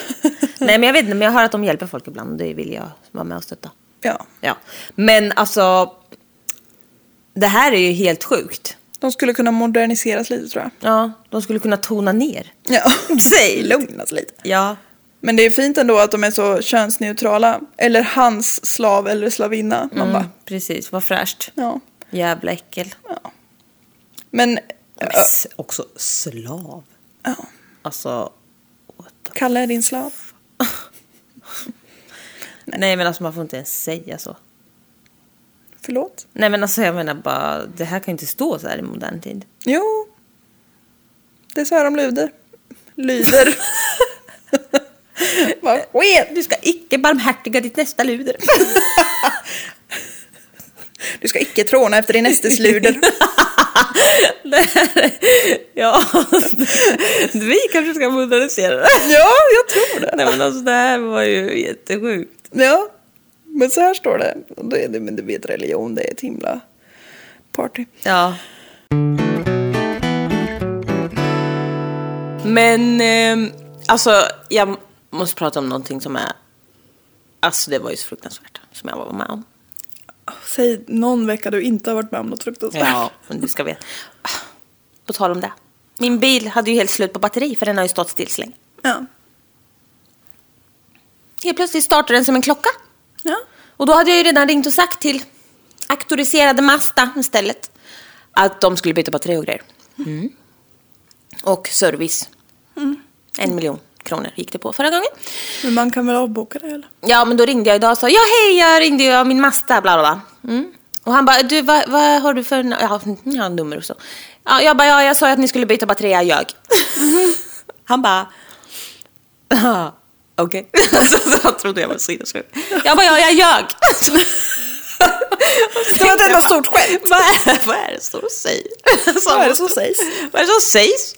Nej men jag vet inte, men jag hör att de hjälper folk ibland och det vill jag vara med och stötta. ja. Ja. Men alltså, det här är ju helt sjukt. De skulle kunna moderniseras lite tror jag. Ja, de skulle kunna tona ner. Ja. Säg lugn. Lugnas lite. Ja. Men det är fint ändå att de är så könsneutrala. Eller hans slav eller slavinna. Man Mm, bara, precis, vad fräscht. ja. Jävla äckel. Men Men s- också slav. Ja. Alltså, what the... Kalle är din slav. Nej men alltså man får inte ens säga så. Förlåt? Nej men alltså jag menar bara, det här kan ju inte stå så här i modern tid. Jo. Det är så här de lyder. Lyder. bara, "Skit." Du ska icke barmhärtiga ditt nästa luder. Du ska icke tråna efter din nästes luder. ja, vi kanske ska modernisera det. ja, jag tror det. Nej men alltså det här var ju jättesjukt. Ja, men så här står det. Och det, det men du vet religion, det är ett himla party. Ja. Men ehm, alltså jag måste prata om någonting som är... Alltså det var ju så fruktansvärt som jag var med om. Säg någon vecka du inte har varit med om något fruktansvärt. Ja, men du ska veta. På tal om det. Min bil hade ju helt slut på batteri för den har ju stått still så länge. Ja. Helt plötsligt startade den som en klocka. ja. Och då hade jag ju redan ringt och sagt till auktoriserade Mazda istället att de skulle byta batteri och grejer. Och service. En miljon kronor gick det på förra gången. Men man kan väl avboka det eller? Ja, men då ringde jag idag och sa ja hej, jag ringde ju av min Mazda, bla bla bla. Mm. Och han bara, du vad, vad har du för na- ja, ja, nummer och så. Ja, jag bara, ja jag sa ju att ni skulle byta batteri, jag ljög. Han bara, "Ah, okej. så, så han trodde jag var sinnessjuk. Jag bara, ja jag ljög. Det var ett enda stort skämt. vad, är, vad är det som sägs? Vad är det som sägs? Vad är det som sägs?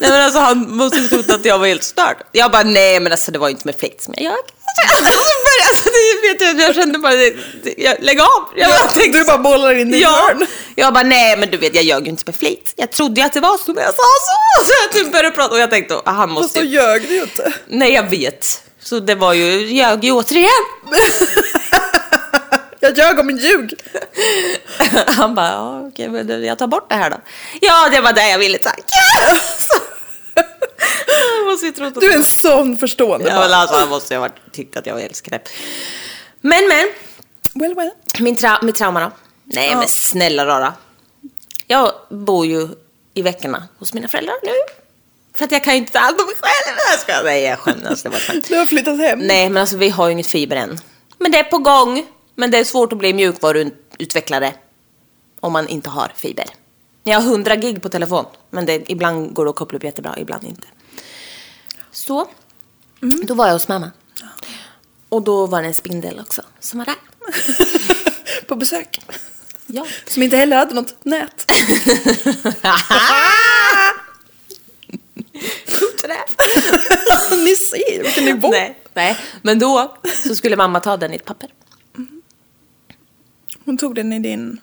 Nej men alltså han måste ha trott att jag var helt störd. Jag bara nej men alltså det var ju inte med flit som jag ljög. Alltså, jag började- alltså det vet jag, jag kände bara, det, det, jag, lägg av. Jag bara, tänkte- Du bara bollar in i ja. hörn. jag bara nej men du vet jag ljög ju inte med flit. Jag trodde ju att det var så men jag sa så. Så jag typ började prata och jag tänkte ah, han Fast måste då ju, ljög du ju inte. nej jag vet. Så det var ju, ljög ju återigen. Jag ljög om en ljug. Han bara, ja, okej, men du, jag tar bort det här då. Ja, det var det jag ville, tack. Så- Han måste ju trott att... Du är en sån förstående. Ja, men alltså, han måste ju ha varit- tyckt att jag var helt skräp. Men, men. Well, well. Min tra- mitt trauma då? Nej, men snälla rara. Jag bor ju i veckorna hos mina föräldrar nu. För att jag kan ju inte ta hand om mig själv. Jag ska, nej, jag skäms. Alltså, det var ett skämt. Du har flyttat hem. Nej, men alltså vi har ju inget fiber än. Men det är på gång. Men det är svårt att bli mjukvaruutvecklare om man inte har fiber. Jag har 100 gig på telefon, men det, ibland går det att koppla upp jättebra, ibland inte. Så, då var jag hos mamma. Och då var det en spindel också som var där. På besök. Ja. Som inte heller hade något nät. Så där. Ni ser vilken nivå. Nej, nej, men då så skulle mamma ta den i ett papper. Hon tog den i din...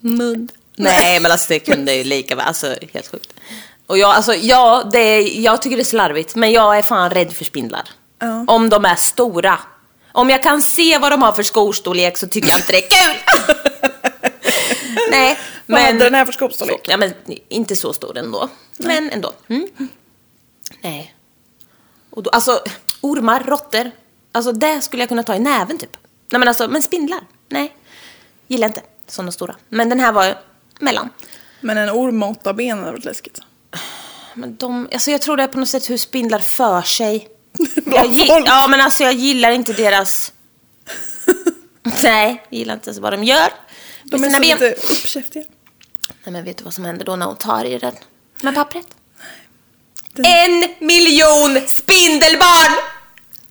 mun. Nej, men alltså det kunde ju lika väl. Alltså helt sjukt. Och jag, alltså, ja, det är, jag tycker det är slarvigt, men jag är fan rädd för spindlar. Ja. Om de är stora. Om jag kan se vad de har för skostorlek så tycker jag inte det är kul. Nej, Vad men... hade den här för skostorlek? Ja, men inte så stor ändå. Men ändå. Mm. Nej. Och då, alltså, ormar, råttor. Alltså det skulle jag kunna ta i näven typ. Nej men alltså, men spindlar. Nej. Gillar inte sådana stora. Men den här var ju mellan. Men en orm med åtta ben hade varit läskigt. Men de, alltså jag tror det är på något sätt hur spindlar för sig. Bra Jag gi- folk. ja men alltså jag gillar inte deras... Nej, jag gillar inte alltså vad de gör. De är med så sina ben. lite uppkäftiga. Nej men vet du vad som händer då när hon tar i den? Med pappret? Den- En miljon spindelbarn!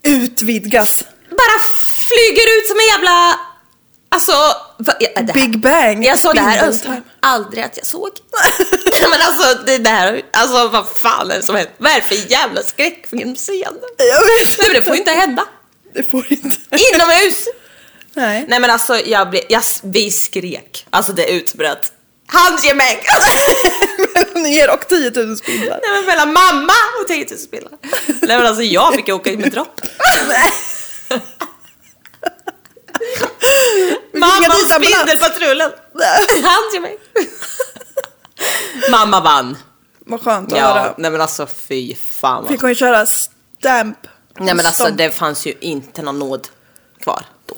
Utvidgas. Bara flyger ut som en jävla... Alltså... va- ja, det här- Big bang. Jag sa det här Spindeltime. önskar aldrig att jag såg. Nej, men alltså det där, alltså vad fan är det som händer? Vad är det för jävla skräckfilmscen? Jag vet Nej men det får ju inte hända. Det får inte. Inomhus! Nej. Nej men alltså jag blev, jag, vi skrek. Alltså det utbröt. Handgemäng! Ner och 10 000 spindlar. Nej men mellan mamma och 10 000 spindlar. Nej men alltså jag fick ju åka in med dropp. Mamma Vilka och dina plats? spindelpatrullen. Handgemäng. Mamma vann. Vad skönt att Ja, höra. nej men alltså fy fan vad Fick hon ju köra stamp. Nej men alltså Stomp. det fanns ju inte någon nåd kvar då.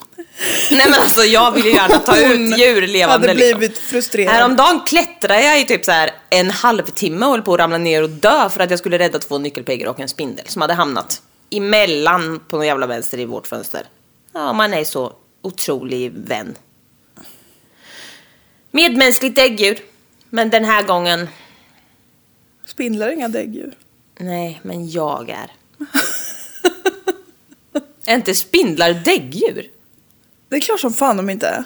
Nej men alltså jag vill ju gärna ta ut djur levande hade liksom. blivit frustrerad. Häromdagen klättrade jag i typ så här en halvtimme och höll på att ramla ner och dö för att jag skulle rädda två nyckelpigor och en spindel som hade hamnat emellan på någon jävla vänster i vårt fönster. Ja, man är så otrolig vän. Medmänskligt däggdjur. Men den här gången, Spindlar är inga däggdjur. nej, men jag är. Är inte spindlar däggdjur? Det är klart som fan de inte är.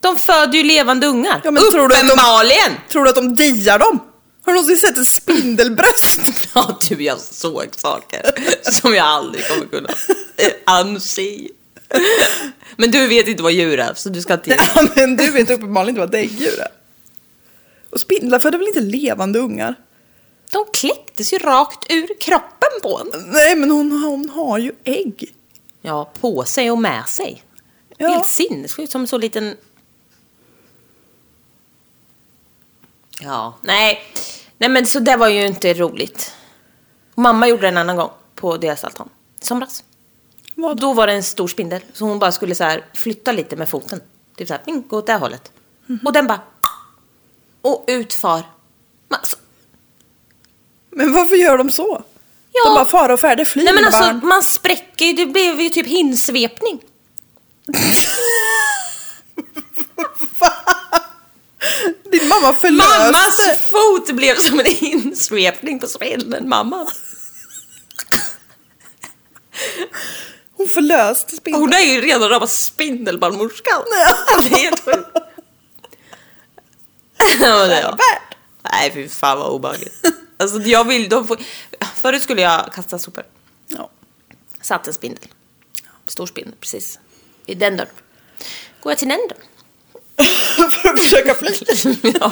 De föder ju levande ungar. Ja, men tror du att de- Uppenbarligen! Tror du att de diar dem? Har du någonsin sett ett spindelbröst? Ja, du, jag såg saker som jag aldrig kommer kunna eh, anse. Men du vet inte vad djur är, så du ska inte... Ja, men du vet uppenbarligen inte vad däggdjur är. Och spindlar föder väl inte levande ungar? De kläcktes ju rakt ur kroppen på en. Nej, men hon, hon har ju ägg. Ja, på sig och med sig. Ja. Helt sinnessjukt, som en så liten... Ja, nej. Nej men så det var ju inte roligt. Mamma gjorde det en annan gång på deras altan. I somras. Vad? Då var det en stor spindel. Så hon bara skulle så här flytta lite med foten. Typ så här, "Mm, gå åt det här hållet. Mhm. Och den bara... Och utfar. Men alltså, Men varför gör de så? ja. De bara fara och färde, fly Nej men mina alltså, barn. man spräcker ju. Det blev ju typ hinsvepning. Din mamma förlöste. Mammas fot blev som en insvepning på spindeln, mamma. Hon förlöste spindeln. Hon är ju redan rama spindelbarnmorskan. Det är helt sjukt. Ja, men det var- Nej fy fan vad obehagligt. Alltså jag vill, de får... Förut skulle jag kasta sopor. Ja. Satt en spindel. Stor spindel, precis. I den dörren. Går jag till den dörren? För att försöka fly. ja.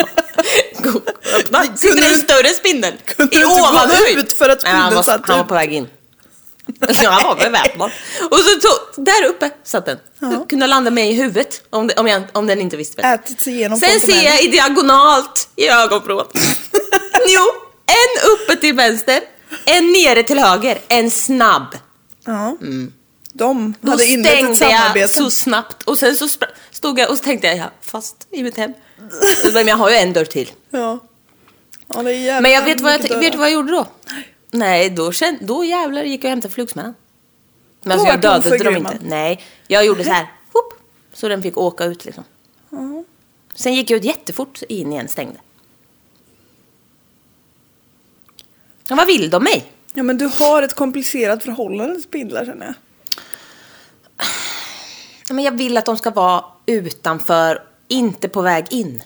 Go- Öppna. Kunde Sitter du- en större spindel. kunde du I inte gå ovanhöjd. ut för att Nej, han spindeln var, satt Han var ut? på väg in. Alltså, Ja, han var beväpnad. Och så tog, där uppe satt den. Ja. Kunde landa mig i huvudet om, det, om, jag, om den inte visste bättre. Ätit sig igenom Sen ser fontänen. jag i diagonalt i ögonvrån. jo, en uppe till vänster, en nere till höger, en snabb. Ja. De Mm. Då hade inlett ett stängde jag samarbete. så snabbt och sen så spra- stod jag och så tänkte jag, jag är fast i mitt hem. Alltså, Men jag har ju en dörr till. Ja. ja det är jävligt Men jag vet vad jag, mycket vet dörrar. du vad jag gjorde då? Nej, då, kände, då jävlar gick jag och hämtade flugsmällan. Men Då alltså jag vart hon dödade dem förgrymmad. inte. Nej, jag gjorde så här. Hopp, så den fick åka ut liksom. Ja. Sen gick jag ut jättefort in igen, stängde. Ja, Vad vill de mig? Ja men du har ett komplicerat förhållande till spindlar känner jag. Ja, Men jag vill att de ska vara utanför, inte på väg in.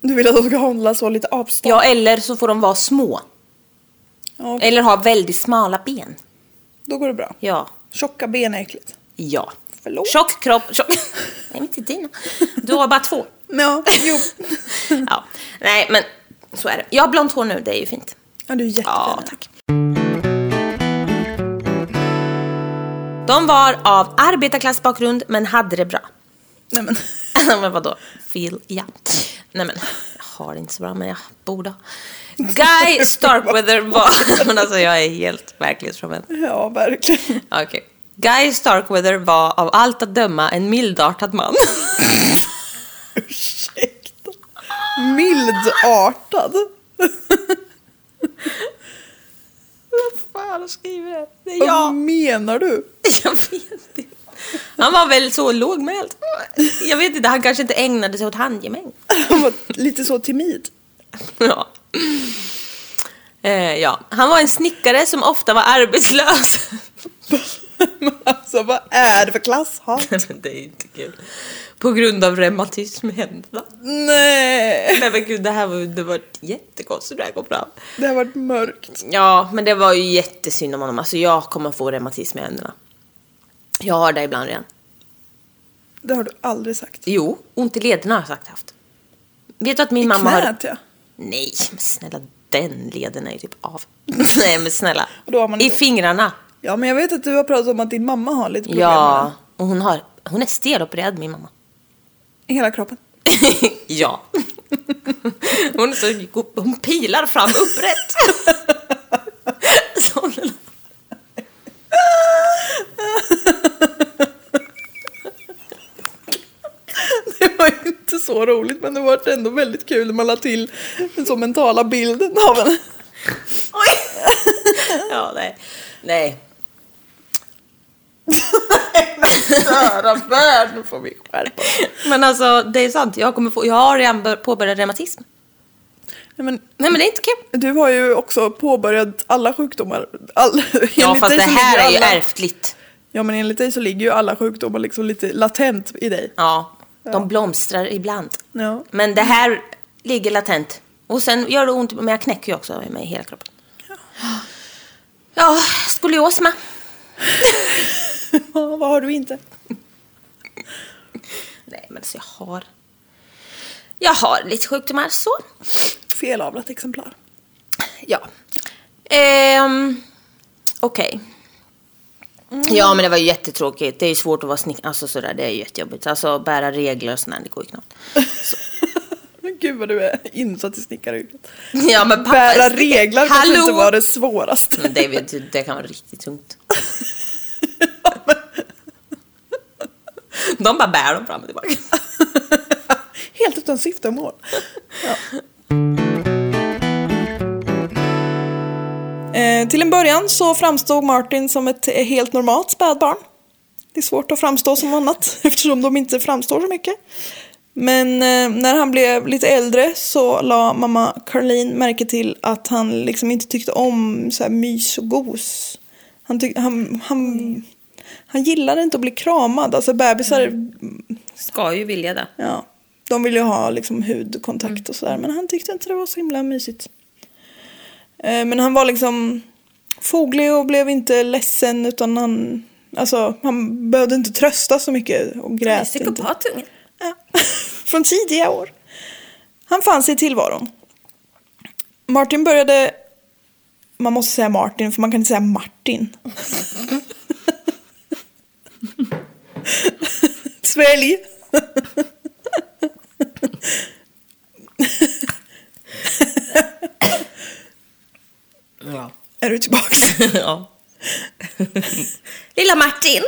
Du vill att de ska hålla så lite avstånd. Ja, eller så får de vara små. Ja, Eller ha väldigt smala ben. då går det bra. Ja. Tjocka ben är äckligt. Ja. Förlåt. Tjock kropp, tjock... Nej, inte dina. Du har bara två. Ja, jo. ja. Nej, men så är det. Jag har blont hår nu, det är ju fint. Ja, du är jättefin. Ja, tack. De var av arbetarklassbakgrund, men hade det bra. Nej men. men vadå? Feel, ja. Nej men, jag har det inte så bra, men jag borde ha. Guy Starkweather var... men alltså jag är helt verklighetsfrånvänd. Ja, verkligen. Okej. Guy Starkweather var av allt att döma en mildartad man. Ursäkta. Mildartad. Fan, skriver det? Det är Vad jag. menar du? Jag vet inte. Han var väl så lågmäld. Jag vet inte, han kanske inte ägnade sig åt handgemäng. Han var lite så timid. Ja. Eh, ja. Han var en snickare som ofta var arbetslös. Men alltså vad är det för klasshat? Nej, men det är inte kul. På grund av reumatism i händerna. Nej. Nej men gud, det här var, det var jättekonstigt när jag kom fram. Det har varit mörkt. Ja, men det var ju jättesynd om honom. Alltså jag kommer få reumatism i händerna. Jag har det ibland redan. Det har du aldrig sagt. Jo, ont i lederna har jag sagt haft. Vet du att min I mamma har... knät ja. Nej, men snälla den leden är ju typ av. Nej, men snälla. Och då har man I inte- fingrarna. Ja men jag vet att du har pratat om att din mamma har lite problem med Ja, det. och hon, har, hon är stelopererad min mamma. I hela kroppen. ja. Hon, är så, hon pilar fram upprätt. Så- Det var ju inte så roligt men det var ändå väldigt kul när man la till den så mentala bilden av henne. ja, nej. Nej. Kära värld, nu får vi skärpa oss. Men alltså, det är sant. Jag, kommer få, jag har redan bör- påbörjat reumatism. Nej, men Nej, men det är inte kul. du har ju också påbörjat alla sjukdomar. All, Ja, enligt fast dig det så ligger här är ju alla- ärftligt. Ja men enligt dig så ligger ju alla sjukdomar liksom lite latent i dig. Ja, de blomstrar ibland. Ja. Men det här ligger latent. Och sen gör det ont, men jag knäcker ju också med hela kroppen. Ja, skolios med. Vad har du inte? Nej, men så jag har... Jag har lite sjukdomar, så. Felavlat exemplar. Ja. Ehm, Okej. Ja, men det var ju jättetråkigt. Det är ju svårt att vara snickare. Alltså sådär, det är ju jättejobbigt. Alltså bära regler och sådär, det går ju knappt. Men Gud vad du är insatt i snickaryrket. Ja, men pappa... Bära regler kanske inte Hallå! var det svåraste. Men David, det kan vara riktigt tungt. De bara bär dem fram och tillbaka. Helt utan syfte och mål. Ja. Eh, till en början så framstod Martin som ett eh, helt normalt spädbarn. Det är svårt att framstå som annat eftersom de inte framstår så mycket. Men eh, när han blev lite äldre så la mamma Caroline märke till att han liksom inte tyckte om så här mys och gos. Han, tyck- han, han, han gillade inte att bli kramad. Alltså bebisar Ska ju vilja det. Ja. De ville ju ha liksom hudkontakt och sådär men han tyckte inte det var så himla mysigt. Eh, Men han var liksom foglig och blev inte ledsen utan han, alltså, han behövde inte trösta så mycket och grät inte. Psykopatungen. Ja. Från tidiga år. Han fann sig i tillvaron. Martin började... Man måste säga Martin, för man kan inte säga Martin. Svälj! Är du tillbaks? ja. Lilla Martin.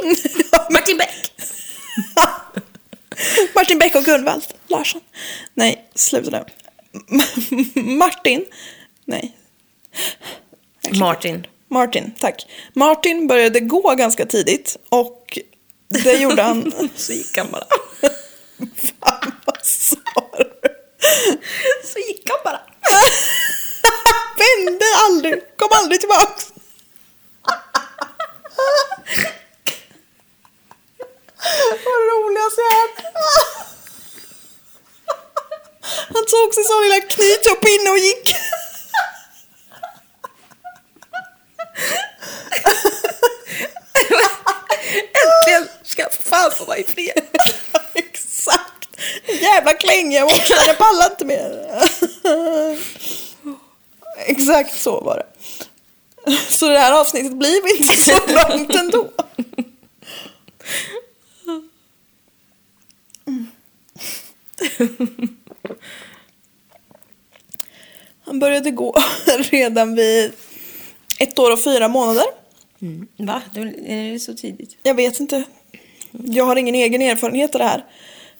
Martin Beck. Martin Beck och Gunvald Larsson. Nej, sluta nu. Martin. Nej, Martin. Martin, tack. Martin började gå ganska tidigt och det gjorde han... Så gick han bara. Fan, vad sa du? Så gick han bara. Vände aldrig, kom aldrig tillbaks. Vad roligast jag hört. Han tog sin sån lilla knyt upp inne och gick. Äntligen ska jag fan få vara i fred. Exakt. Jävla klänga jag åkte, jag pallar inte mer. Exakt så var det. Så det här avsnittet blev inte så långt ändå. Mm. Han började gå redan vid ett år och fyra månader. Mm. Va? Du, är det så tidigt? Jag vet inte. Jag har ingen egen erfarenhet av det här.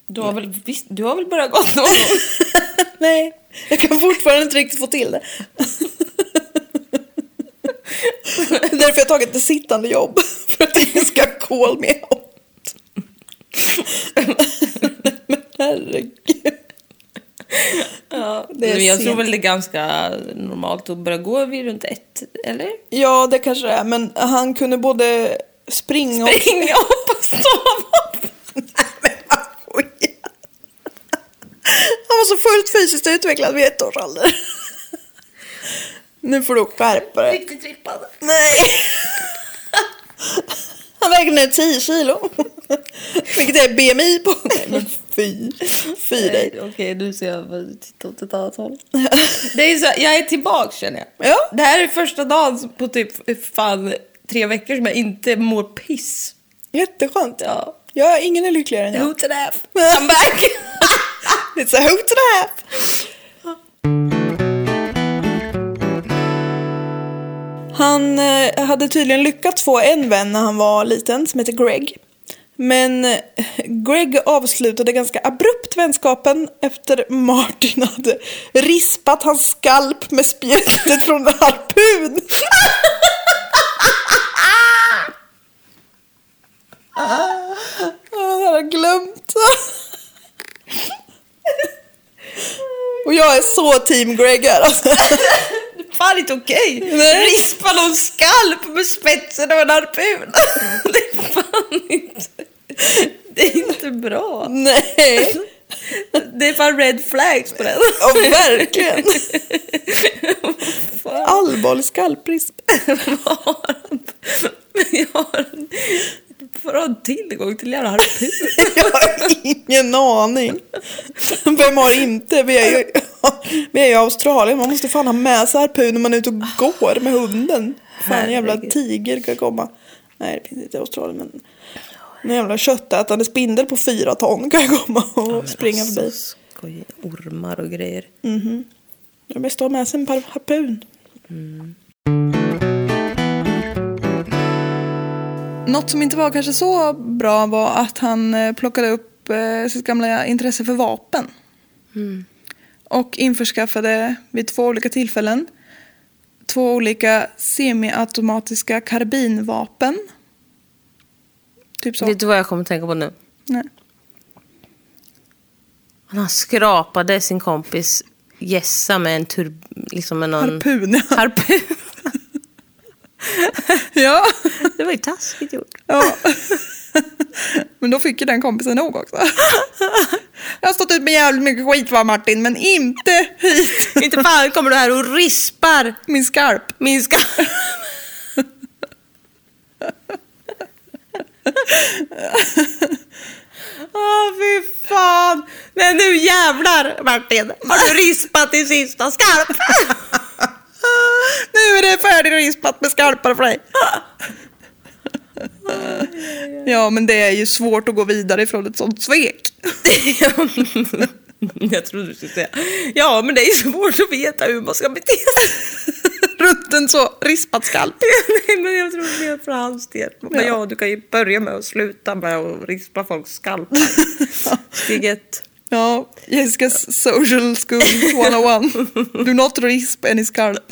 Du har väl, visst, du har väl börjat gå någon gång? Nej, jag kan fortfarande inte riktigt få till det. Det är Därför jag har tagit ett sittande jobb. För att ingen ska call me out. Men herregud. det är Men jag tror sent. väl det är ganska normalt att börja gå vid runt ett, eller? Ja, det kanske det är. Men han kunde både springa och... Ringa upp och sova! Han var så fullt fysiskt utvecklad vid ett års ålder. Nu får du skärpa dig. Riktigt trippad. Nej. Han vägde nu 10 kilo. Vilket är BMI på... Nej men fy. Fy dig. Okej, nu ser jag titta åt ett annat håll. Det är så, jag är tillbaks känner jag. Ja. Det här är första dagen på typ fan tre veckor som jag inte mår piss. Jätteskönt. Ja. ja, ingen är lyckligare än jag. Who to that? I'm back! It's a hoot and a half. Han eh, hade tydligen lyckats få en vän när han var liten som heter Greg. Men eh, Greg avslutade ganska abrupt vänskapen efter Martin hade rispat hans skalp med spjutet från en harpun. Ah, Han hade glömt. Och jag är så team Greg här alltså. Fan inte okej! Nej. Rispa någon skalp med spetsen av en harpun. Det är fan kan inte. Det är inte bra. Nej, Det är bara red flags på den. och verkligen. Allvarlig skalprisp. Men jag har en bra tillgång till jävla harpun. Jag har ingen aning. Vem har inte? Vi är ju, vi är ju i Australien. Man måste fan ha med sig harpun när man är ute och går med hunden. Fan en jävla tiger kan komma. Nej det finns inte i Australien men. En jävla köttätande spindel på fyra ton kan komma och springa förbi. alltså, Skojiga ormar och grejer. Det är bäst att ha med sig en par harpun. Mm. Något som inte var kanske så bra var att han eh, plockade upp eh, sitt gamla intresse för vapen. Och införskaffade vid två olika tillfällen två olika semiautomatiska karbinvapen. Typ så. Vet du vad jag kommer att tänka på nu? Nej. Han skrapade sin kompis Jessa med en tur... Liksom med någon... Harpun, ja. Harpun. ja. Det var ju taskigt gjort. ja. Men då fick ju den kompisen nog också. Jag har stått ut med jävligt mycket skit va Martin, men inte hit. Inte fan kommer du här och rispar Min skarp. min skarp. Åh fy fan. Nej nu jävlar Martin. Har du rispat din sista skarp? Nu är det färdigrispat med skarpar för dig. Ja, men det är ju svårt att gå vidare ifrån ett sånt svek. Jag trodde du skulle säga. Ja men det är ju svårt att veta hur man ska bete sig. Runt en så rispat skalp. Nej men jag tror mer för hans del. Men ja du kan ju börja med att sluta med att rispa folks skalpar. Steg ett. Ja, Jessicas social school 101. Do not risp any skarp.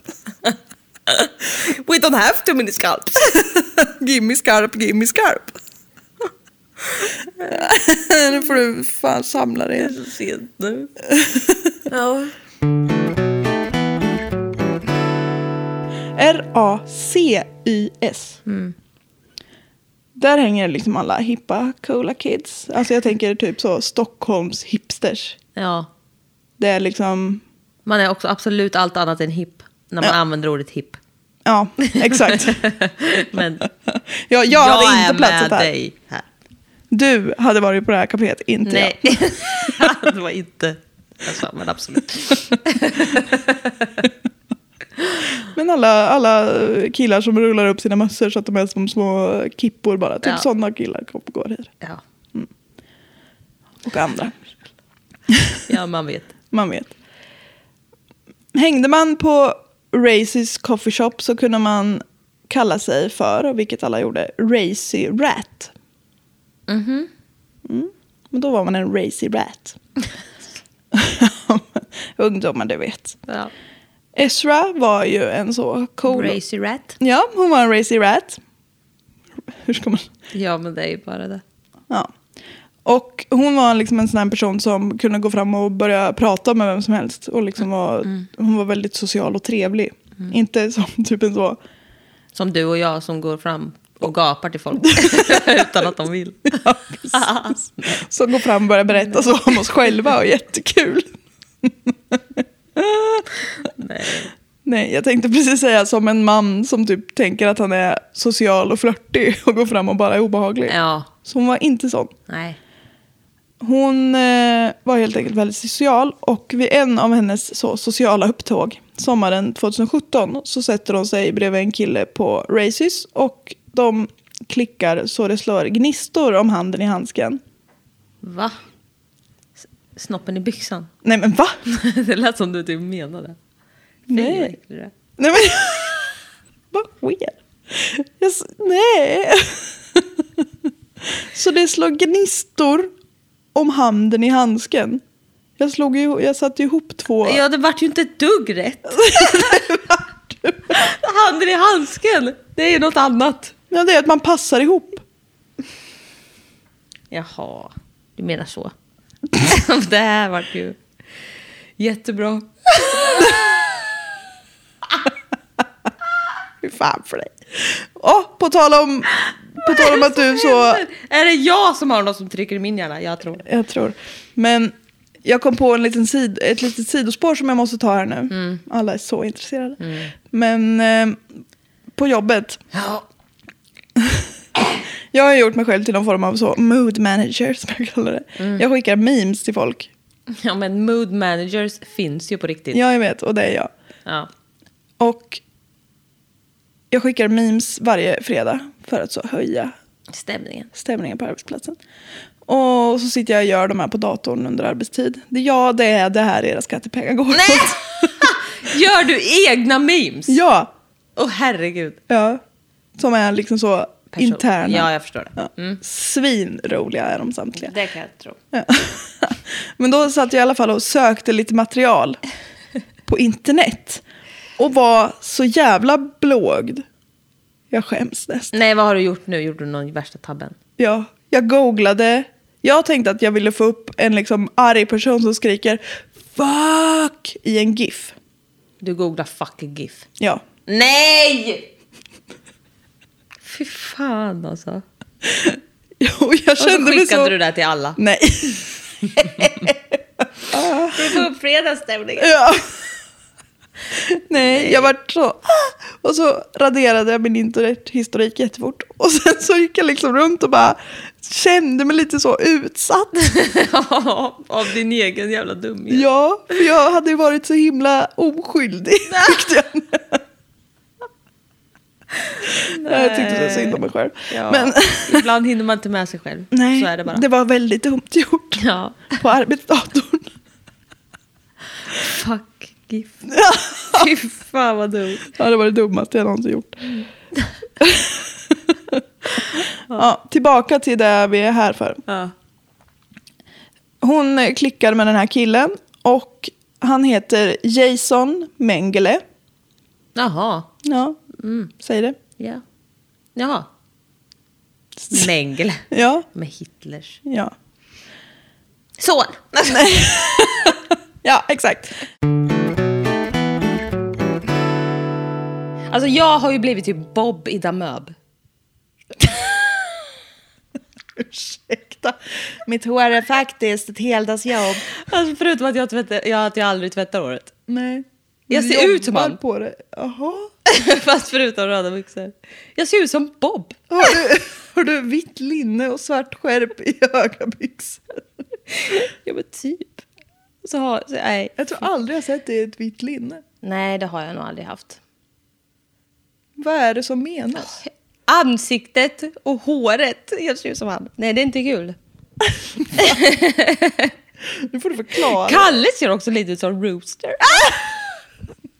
We don't have too many scalps. Gimme skarp, gimme skarp. Nu får du fan samla Det dig. är så sent nu. ja. R-A-C-Y-S. Mm. Där hänger liksom alla hippa, coola kids. Alltså jag tänker typ så Stockholms hipsters. ja. Det är liksom, Man är också absolut allt annat än hipp. När man använder ordet hipp. ja exakt. Men Ja, jag, jag hade är inte platsat med här. dig här. Du hade varit på det här kaféet, inte Nej. det var inte... Jag sa, men absolut. jag. Men alla, alla killar som rullar upp sina mössor så att de är som små kippor bara. Typ Ja. sådana killar kom- går här. Ja. Och andra. ja, man vet. Man vet. Hängde man på Racy's Coffee Shop så kunde man kalla sig för, vilket alla gjorde, Racy Rat. Mhm. Mm. Men då var man en Racy Rat. Ungdomar, du vet. Ja. Ezra var ju en så cool... Crazy rat. Ja, hon var en racy rat. Hur ska man... Ja, men det är ju bara det. Ja. Och hon var liksom en sån här person som kunde gå fram och börja prata med vem som helst. Och liksom var, Mm. Hon var väldigt social och trevlig. Inte som typ en så... Som du och jag som går fram och gapar till folk utan att de vill. Ja, precis. Alltså. som går fram och börjar berätta så om oss själva och jättekul. Nej. Nej, jag tänkte precis säga som en man som typ tänker att han är social och flörtig och går fram och bara är obehaglig. Ja, Så hon var inte sån. nej. Hon eh, var helt enkelt väldigt social och vid en av hennes så, sociala upptåg sommaren 2017 så sätter hon sig bredvid en kille på Races och de klickar så det slår gnistor om handen i handsken. Va? S- Snoppen i byxan? Nej men va? det lät som du typ menade. Nej. Fyrverkare. Nej men vad sker? Jag, s- nej. så det slår gnistor om handen i handsken. Jag, slog ju, jag satte ihop två. Ja, det vart ju inte ett dugg rätt. Handen i handsken, det är ju något annat. Ja, det är att man passar ihop. Jaha, du menar så. det här vart ju jättebra. Fy fan för dig. Och på tal om På tal om att du så... Är det jag som har något som trycker i min hjärna? Jag tror det. Jag tror. Men jag kom på en liten sid, ett litet sidospår som jag måste ta här nu. Alla är så intresserade. Men eh, på jobbet. jag har gjort mig själv till någon form av så mood manager som jag kallar det. Jag skickar memes till folk. Ja men mood managers finns ju på riktigt. Ja, jag vet. Och det är jag. Ja. Och jag skickar memes varje fredag för att så höja Stämningen. stämningen på arbetsplatsen. Och så sitter jag och gör de här på datorn under arbetstid. Det- Ja, det är det här era skattepengar går Nej! Gör du egna memes? Ja, Åh herregud. ja. Som är liksom så Person. interna. Ja, jag förstår det. Ja. Svinroliga är de samtliga. Det kan jag tro. Ja. Men då satt jag i alla fall och sökte lite material på internet. Och var så jävla blåögd. Jag skäms nästan. Nej, vad har du gjort nu? Gjorde du någon värsta tabben? Ja, jag googlade. Jag tänkte att jag ville få upp en liksom arg person som skriker fuck i en GIF. Du googlar fuck a GIF. Ja. Nej! Fy fan alltså. Och jag Och så kände mig skickade så... du det här till alla. Nej. Ah. Du får upp fredagsstämningen. Ja. Nej, jag vart så... "Ah!" Och så raderade jag min internethistorik jättefort. Och sen så gick jag liksom runt och bara kände mig lite så utsatt. Av din egen jävla dumhet. Ja, för jag hade ju varit så himla oskyldig. Tyckte jag. Nej. Jag tyckte så synd om mig själv. Ja. Men Ibland hinner man inte med sig själv. nej, Så är det bara. det var väldigt dumt gjort Ja, på arbetsdatorn. fuck GIF. Fy fan vad dumt. Ja, det var det dummaste jag någonsin gjort. ja, tillbaka till det vi är här för. Ja. Hon eh, klickar med den här killen och han heter Jason Mengele. Jaha. Ja, Mm. säg det. Ja. Jaha. Mengele. Ja, Med Hitlers ja. son. Ja, exakt. Alltså jag har ju blivit typ Bob i Damöb. Ursäkta. Mitt hår är faktiskt ett heldagsjobb. Alltså förutom att jag, tvättar, jag, att jag aldrig tvättar håret. Nej. Jag Du ser ut som jobbar han. på det. Jaha. Fast förutom röda byxor. Jag ser ut som Bob. Har du, har du vitt linne och svart skärp i höga byxor? Ja men typ. Så har, så, nej. Jag tror aldrig jag sett dig i ett vitt linne. nej, det har jag nog aldrig haft. Vad är det som menas? Ansiktet och håret. Jag ser ut som han. Nej, det är inte kul. Nu får du förklara. Kalle ser också lite ut som Rooster.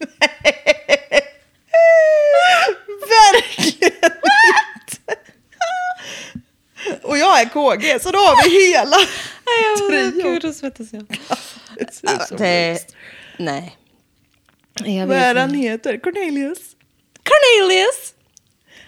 Verkligen inte! Och jag är KG, så då har vi hela Nej, trion. gud, då svettas jag. Det ser ut som Det, Rooster. nej. Jag Vad vet är inte. han heter? Cornelius? Cornelius!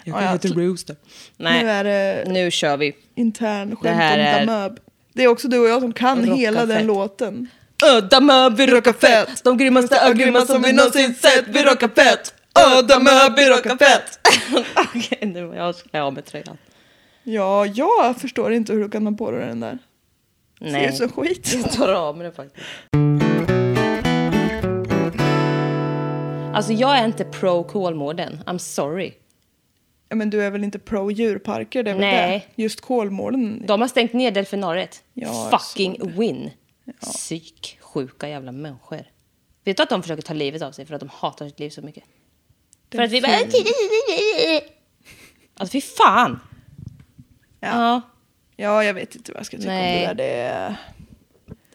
Jag ja, ja. Rooster. Nu Nej, är det nu kör vi. intern Det skämt här om är- Damöb. Det är också du och jag som kan Rocka hela den fett. låten. Öda möb, vi rockar fett. fett. De grymmaste Grymmaste är grymma som vi någonsin sett. Vi rockar fett. Öda möb, vi rockar fett. Okej, nu var jag ska av med tröjan. Ja, jag förstår inte hur du kan ha på dig den där. Ser ut Nej, som skit. jag tar av mig den faktiskt. Alltså jag är inte pro Kolmården. I'm sorry. Ja, men du är väl inte pro djurparker? Det är väl Nej. det. Just Kolmården. De har stängt ner delfinariet. Ja, jag Fucking win. Psyksjuka jävla människor. Vet du att de försöker ta livet av sig för att de hatar sitt liv så mycket? för att vi bara... Alltså fy fan! Ja. Ja. Ja, jag vet inte vad jag ska tycka Nej. om det där. Det är...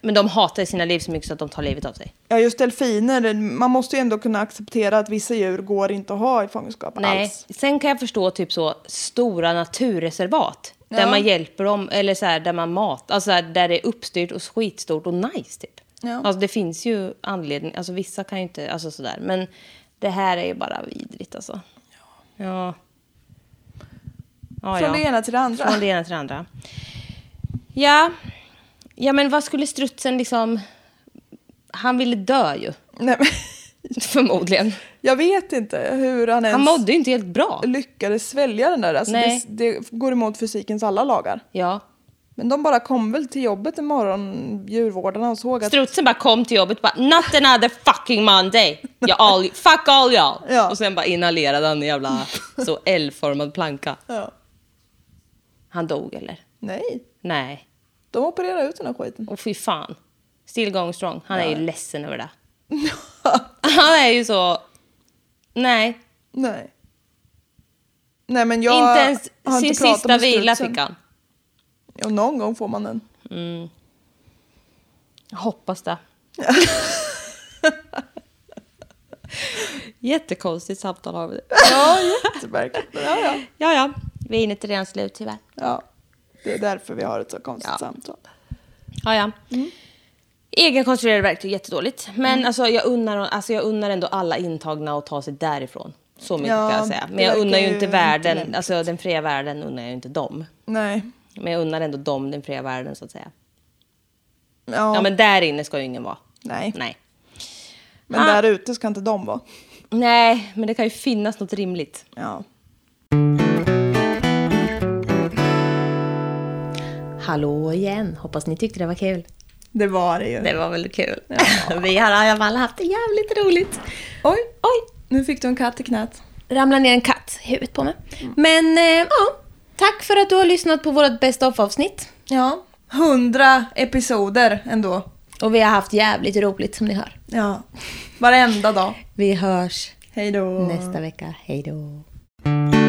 Men de hatar sina liv så mycket så att de tar livet av sig. Ja, just delfiner. Man måste ju ändå kunna acceptera att vissa djur går inte att ha i fångenskap Nej. alls. Sen kan jag förstå typ så stora naturreservat. Där man hjälper dem, eller så här, där man mat, alltså så här, där det är uppstyrt och skitstort och nice typ. Ja. Alltså det finns ju anledning, alltså vissa kan ju inte, alltså sådär. Men det här är ju bara vidrigt alltså. Ja. Ja. Från ja. det ena till det andra. Från det ena till det andra. Ja. Ja men vad skulle strutsen liksom, han ville dö ju. Nej, men... Förmodligen. Jag vet inte hur han ens Han mådde ju inte helt bra. lyckades svälja den där. Alltså det, Nej. det går emot fysikens alla lagar. Ja. Men de bara kom väl till jobbet en morgon, djurvårdarna, och såg att... Strutsen bara kom till jobbet och bara “Not another fucking Monday! Jag all, fuck all y'all!” Ja. Och sen bara inhalerade han en jävla så L-formad planka. Ja. Han dog eller? Nej, Nej. de opererade ut den här skiten. Och fy fan. Still going strong. Han är ju ledsen över det. Han är ju så... Nej. Nej. Nej men jag inte ens har sin pratat sista med vila strutsen. fick han. Mm. Ja, någon gång får man den. Jag hoppas det. Jättekonstigt samtal har vi. det. Ja, jättemärkligt. Ja, ja. Ja, ja. Vinet är redan slut tyvärr. ja, det är därför vi har ett så konstigt Ja. samtal. Ja, ja. Egenkonstruerade Mm. verktyg, jättedåligt. Men Mm. alltså, jag, unnar, alltså, jag unnar ändå alla intagna att ta sig därifrån. Så mycket Ja, kan jag säga. det Men jag unnar ju verkar inte ju världen, inte lätt. alltså den fria världen unnar jag ju inte dem. Nej. Men jag unnar ändå dem den fria världen så att säga. Ja, Ja, men men där inne ska ju ingen vara. nej. Nej. Ah. Men där ute ska inte de vara. Nej, men det kan ju finnas något rimligt. Ja. Hallå igen, hoppas ni tyckte det var kul. Det var det ju. Det var väldigt kul. Vi har i alla fall haft det jävligt roligt. Oj, Oj, nu fick du en katt i knät. ramlade ner en katt i huvudet på mig. Men eh, ja, tack för att du har lyssnat på vårt bästa avsnitt. Ja, hundra episoder ändå. Och vi har haft jävligt roligt som ni hör. Ja, varenda dag. Vi hörs Hej då. nästa vecka. Hej då. Hej